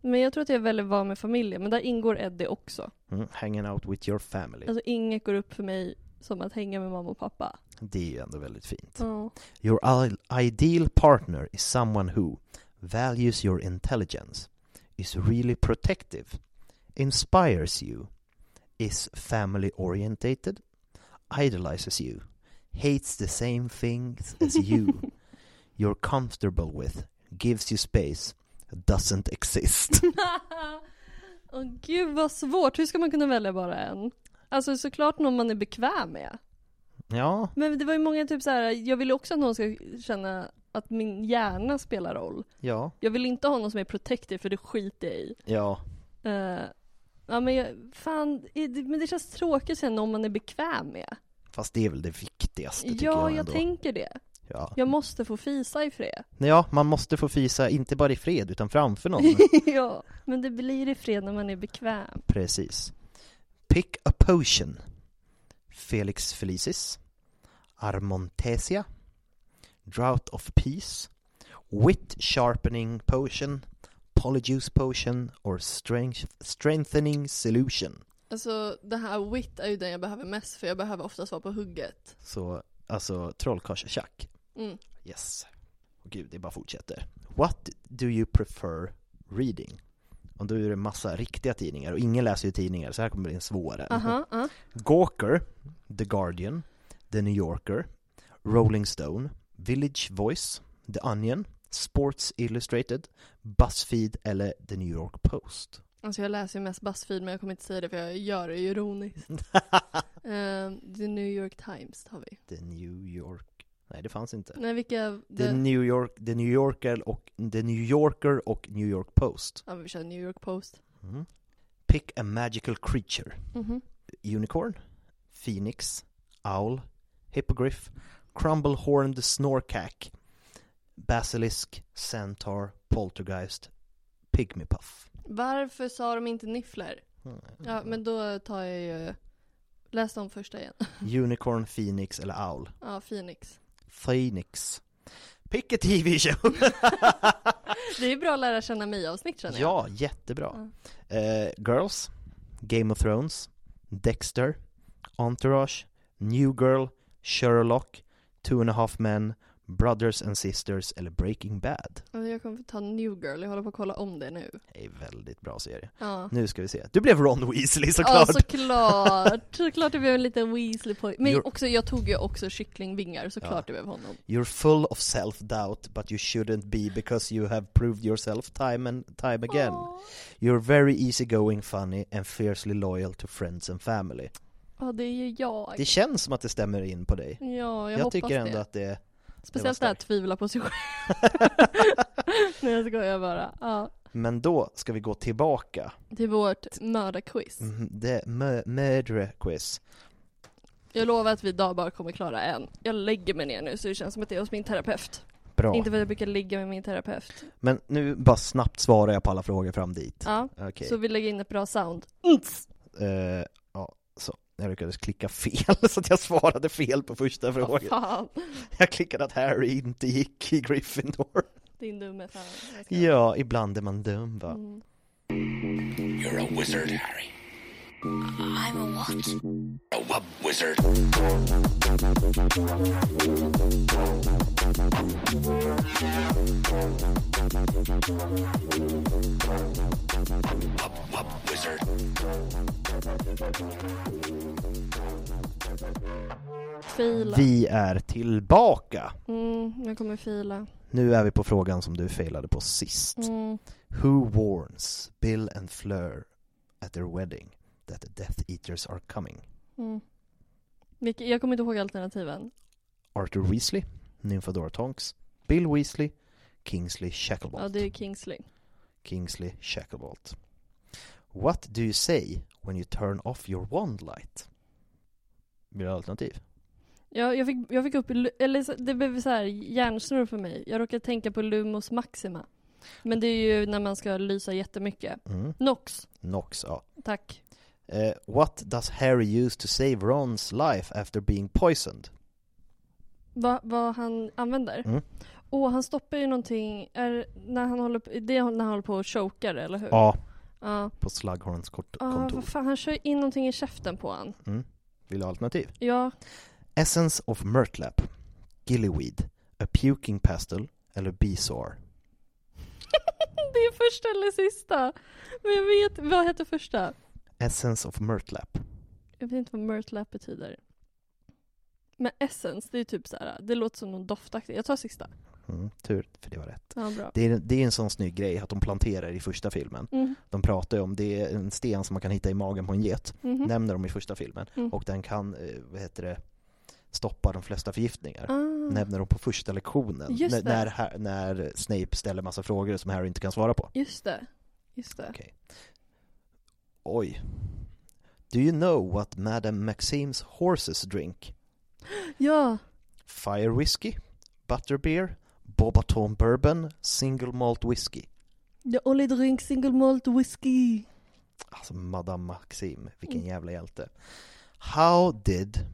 B: men jag tror att jag väljer vara med familjen, men där ingår Eddie också.
A: Mm, hanging out with your family.
B: Alltså inget går upp för mig som att hänga med mamma och pappa.
A: Det är ju ändå väldigt fint.
B: Ja.
A: Your i- ideal partner is someone who values your intelligence, is really protective, inspires you, is family orientated, idolizes you, hates the same things <laughs> as you, you're comfortable with, gives you space, doesn't <laughs> exist.
G: Åh gud vad svårt, hur ska man kunna välja bara en? Alltså såklart någon man är bekväm med.
A: ja,
G: Men det var ju många typ så här. jag vill ju också att någon ska känna att min hjärna spelar roll.
A: ja,
G: Jag vill inte ha någon som är protective för det skiter jag i.
A: ja.
G: Eh, ja men jag, fan, är det, men det känns tråkigt sen om man är bekväm med.
A: Fast det är väl det viktigaste tycker
G: Ja,
A: jag
G: jag
A: ändå.
G: tänker det.
A: ja.
G: Jag måste få fisa i
A: <laughs>
G: fred.
A: ja, man måste få fisa, inte bara i fred utan framför någon. <laughs>
G: ja, men det blir i fred när man är bekväm.
A: Precis. Pick a potion. Felix Felicis. Armontesia. Drought of Peace. Wit Sharpening Potion. Polyjuice Potion. Or strength, Strengthening Solution.
B: Alltså det här wit är ju den jag behöver mest för jag behöver oftast vara på hugget.
A: Så, alltså trollkarlstjack.
B: Mm.
A: Yes. Och gud, det bara fortsätter. What do you prefer reading? Och då är det en massa riktiga tidningar och ingen läser ju tidningar så här kommer det bli en svårare.
G: Aha, ja.
A: Gawker, The Guardian, The New Yorker, Rolling Stone, Village Voice, The Onion, Sports Illustrated, Buzzfeed eller The New York Post.
B: Alltså jag läser ju mest Buzzfeed men jag kommer inte säga det för jag gör det ironiskt. Eh, the New York Times har vi.
A: the New York... Nej, det fanns inte.
B: Nej vilka?
A: The
B: The...
A: New York, The New Yorker och The New Yorker och New York Post.
B: Ja men vi kör New York Post.
A: Mm. Pick a magical creature.
B: Mhm.
A: Unicorn, Phoenix, Owl, Hippogriff, Crumble-horned Snorkack, Basilisk, Centaur, Poltergeist, Pygmy Puff.
B: Varför sa de inte niffler?
A: Mm.
B: Ja men då tar jag ju, läs de första igen. <laughs>
A: Unicorn, Phoenix eller Owl?
B: Ja, Phoenix.
A: Phoenix. Pick a TV show!
B: Det är bra att lära känna mig avsnitt känner jag.
A: ja, jättebra. Eh, Girls, Game of Thrones, Dexter, Entourage, New Girl, Sherlock, Two and a Half Men, Brothers and Sisters eller Breaking Bad.
B: Ja. Jag kommer få ta New Girl, jag håller på att kolla om det nu.
A: Det är väldigt bra serie.
B: Ja.
A: Nu ska vi se. Du blev Ron Weasley
B: Ja
A: såklart!
B: såklart, såklart det blev en liten Weasley poj. Men
A: You're-
B: också, jag tog ju också kycklingvingar, såklart det blev honom.
A: You're full of self-doubt, but you shouldn't be because you have proved yourself time and time again. You're very easygoing, funny and fiercely loyal to friends and family.
B: Ja det är ju jag.
A: Det känns som att det stämmer in på dig.
B: Ja, jag,
A: Jag,
B: hoppas
A: tycker ändå
B: det.
A: att det...
B: Speciellt det här att tvivla
A: <laughs>
B: på sig själv. Nej jag skojar bara. Ja.
A: Men då ska vi gå tillbaka.
B: Till vårt mördarquiz.
A: Mhm, Det mö- murder quiz.
B: Jag lovar att vi idag bara kommer klara en. Jag lägger mig ner nu så det känns som att det är hos min terapeut.
A: Bra.
B: Inte för att jag brukar ligga med min terapeut.
A: Men nu bara snabbt svarar jag på alla frågor fram dit.
B: Ja,
A: Okej.
B: så vi lägger in ett bra sound.
A: Eh, ja, så. Jag lyckades klicka fel, <laughs> så att jag svarade fel på första frågan.
B: Fan,
A: Jag klickade att Harry inte gick i Gryffindor.
B: din dumme fan. Jag ska-
A: Ja, ibland är man dum va?
B: Mm.
E: You're a wizard, Harry.
H: I'm a what?
E: A wub wizard. Wub wub wizard.
B: Fila.
A: Vi är tillbaka!
B: Mm, jag kommer fila.
A: Nu är vi på frågan som du failade på sist.
B: Mm.
A: Who warns Bill and Fleur at their wedding that the Death Eaters are coming?
B: Mm. Vilka- Jag kommer inte ihåg alternativen.
A: Arthur Weasley, Nymphadora Tonks, Bill Weasley, Kingsley Shacklebolt.
B: Ja, det är Kingsley.
A: Kingsley Shacklebolt. What do you say when you turn off your wand light? Vill du ha alternativ?
B: Jag, jag, fick, jag fick upp, lu- eller så- det blev så här hjärnsnurr för mig. Jag råkade tänka på Lumos Maxima. Men det är ju när man ska lysa jättemycket.
A: Mm.
B: Nox,
A: Nox, ja.
B: tack.
A: Eh, what does Harry use to save Rons life after being poisoned?
B: Va- Vad han använder.
A: Mm.
B: Och han stoppar ju någonting, är, när han håller, på- det är när han håller på och chokar eller hur?
A: Ja,
B: Ja.
A: på Slughorns kort-
B: Ah,
A: kontor.
B: vad fan, han kör in någonting i käften på han.
A: Mm. Vill du ha alternativ?
B: Ja, <laughs>
A: Essence of Murtlap, Gillyweed, A Puking Pastel eller Beesore?
B: det är första eller sista. Men jag vet, vad heter första?
A: Essence of Murtlap.
B: Jag vet inte vad myrtlap betyder. Men essence, det är typ så här. det låter som någon doftaktig. Jag tar sista.
A: Mm, tur, för det var rätt.
B: Ja, bra.
A: Det är, det är en sån snygg grej att de planterar i första filmen.
B: Mm.
A: De pratar ju om det är en sten som man kan hitta i magen på en get,
B: mhm.
A: nämner de i första filmen.
B: Mm.
A: Och den kan, eh, vad heter det, stoppa de flesta förgiftningar.
B: Ah.
A: Nämner de på första lektionen,
B: Just
A: när,
B: det.
A: när, Ha- när Snape ställer massa frågor som Harry inte kan svara på.
B: Just det. Just det.
A: Okej. Oj. Do you know what Madame Maxime's horses drink?
B: Ja,
A: Fire whiskey, butterbeer, Bobaton bourbon, single malt whiskey.
B: jag only drink single malt whiskey.
A: Alltså Madame Maxim, vilken
B: Mm.
A: jävla hjälte. How did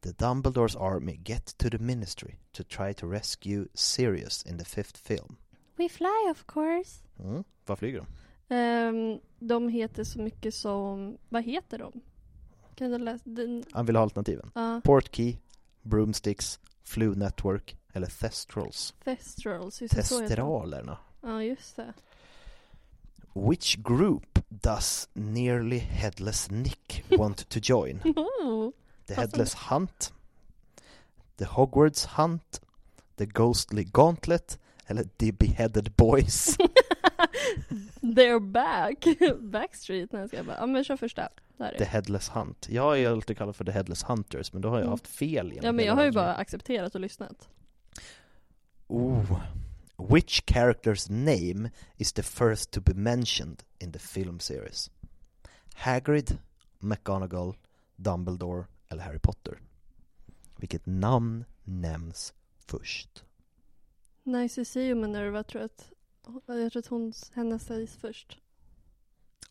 A: the Dumbledores army get to the ministry to try to rescue Sirius in the fifth film?
B: We fly of course.
A: Mm. Vad flyger de?
B: Ehm, de heter så mycket som, vad heter de? Kan du läsa? Den,
A: Han vill ha alternativen.
B: ja,
A: Portkey, Broomsticks, Flu Network eller Thestrals.
B: Thestrals, just det, så heter de.
A: Testralerna.
B: Ja, just det.
A: Which group does nearly headless Nick want to join?
B: Oh.
A: The
B: Passande.
A: Headless Hunt, The Hogwarts Hunt, The Ghostly Gauntlet eller The Beheaded
B: <laughs>
A: Boys.
B: They're back! <laughs> Backstreet, när jag ska bara, ja men kör första. Där är
A: The
B: det.
A: Headless Hunt. Jag har ju alltid kallat för The Headless Hunters, men då har jag
B: Mm.
A: haft fel. genom
B: Ja men
A: hela
B: jag har ju
A: avsnittet.
B: bara accepterat och lyssnat.
A: Oh. Which character's name is the first to be mentioned in the film series? Hagrid, McGonagall, Dumbledore eller Harry Potter? Vilket namn nämns först?
B: Nice Seo Minerva tror jag att, jag tror att hon, hennes sägs först.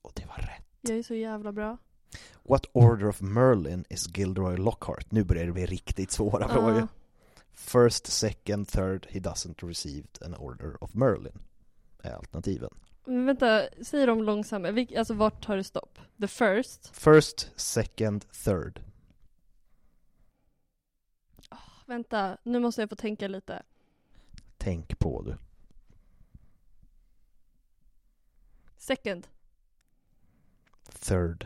A: Och det var rätt.
B: Jag är så jävla bra.
A: What Order of Merlin is Gilderoy Lockhart? Nu börjar det bli riktigt svåra frågor.
B: Ah,
A: First, second, third, he doesn't received an Order of Merlin. Är alternativen.
B: men vänta, säg dem långsammare. Vilk, alltså vart tar det stopp? The first?
A: First, second, third.
B: Vänta, nu måste jag få tänka lite.
A: Tänk på du.
B: Second.
A: Third.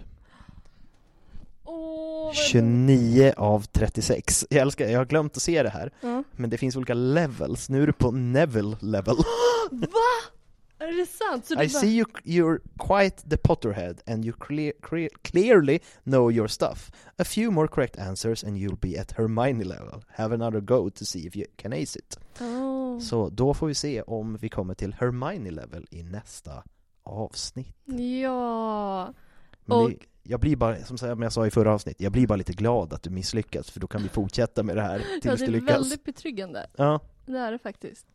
B: Åh, oh,
A: 29 av 36. Jag älskar, jag har glömt att se det här.
B: Ja.
A: Men det finns olika levels. Nu är du på Neville level.
B: Va? Är det sant? Så
A: I
B: du bara,
A: see you, you're quite the Potterhead and you clear, clear, clearly know your stuff. A few more correct answers and you'll be at Hermione level. Have another go to see if you can ace it.
B: Åh.
A: Så då får vi se om vi kommer till Hermione level i nästa avsnitt.
B: Ja.
A: Men
B: Och-
A: det, jag blir bara, som sa- som jag sa i förra avsnittet, jag blir bara lite glad att du misslyckas för då kan vi fortsätta med det
B: <laughs>
A: här
B: ja,
A: tills
B: det
A: du
B: är
A: lyckas.
B: väldigt betryggande.
A: Ja.
B: Det är det faktiskt.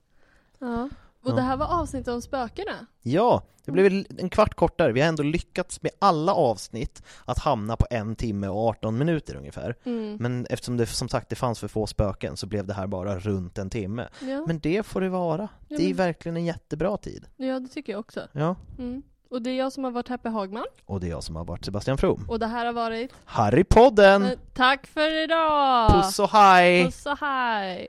B: Ja. Och
A: Ja.
B: det här var avsnittet om spökena.
A: ja, det
B: Mm.
A: blev väl en kvart kortare. Vi har ändå lyckats med alla avsnitt att hamna på en timme och 18 minuter ungefär.
B: Mm.
A: Men eftersom det som sagt det fanns för få spöken så blev det här bara runt en timme.
B: Ja.
A: Men det får det vara.
B: Ja,
A: Det är
B: men-
A: verkligen en jättebra tid.
B: ja, det tycker jag också.
A: Ja.
B: Mm. Och det är jag som har varit Happy Hagman.
A: Och det är jag som har varit Sebastian From.
B: Och det här har varit...
A: Harrypodden!
B: Eh, Tack för idag!
A: Mm. Puss och hej!
B: Puss och hej!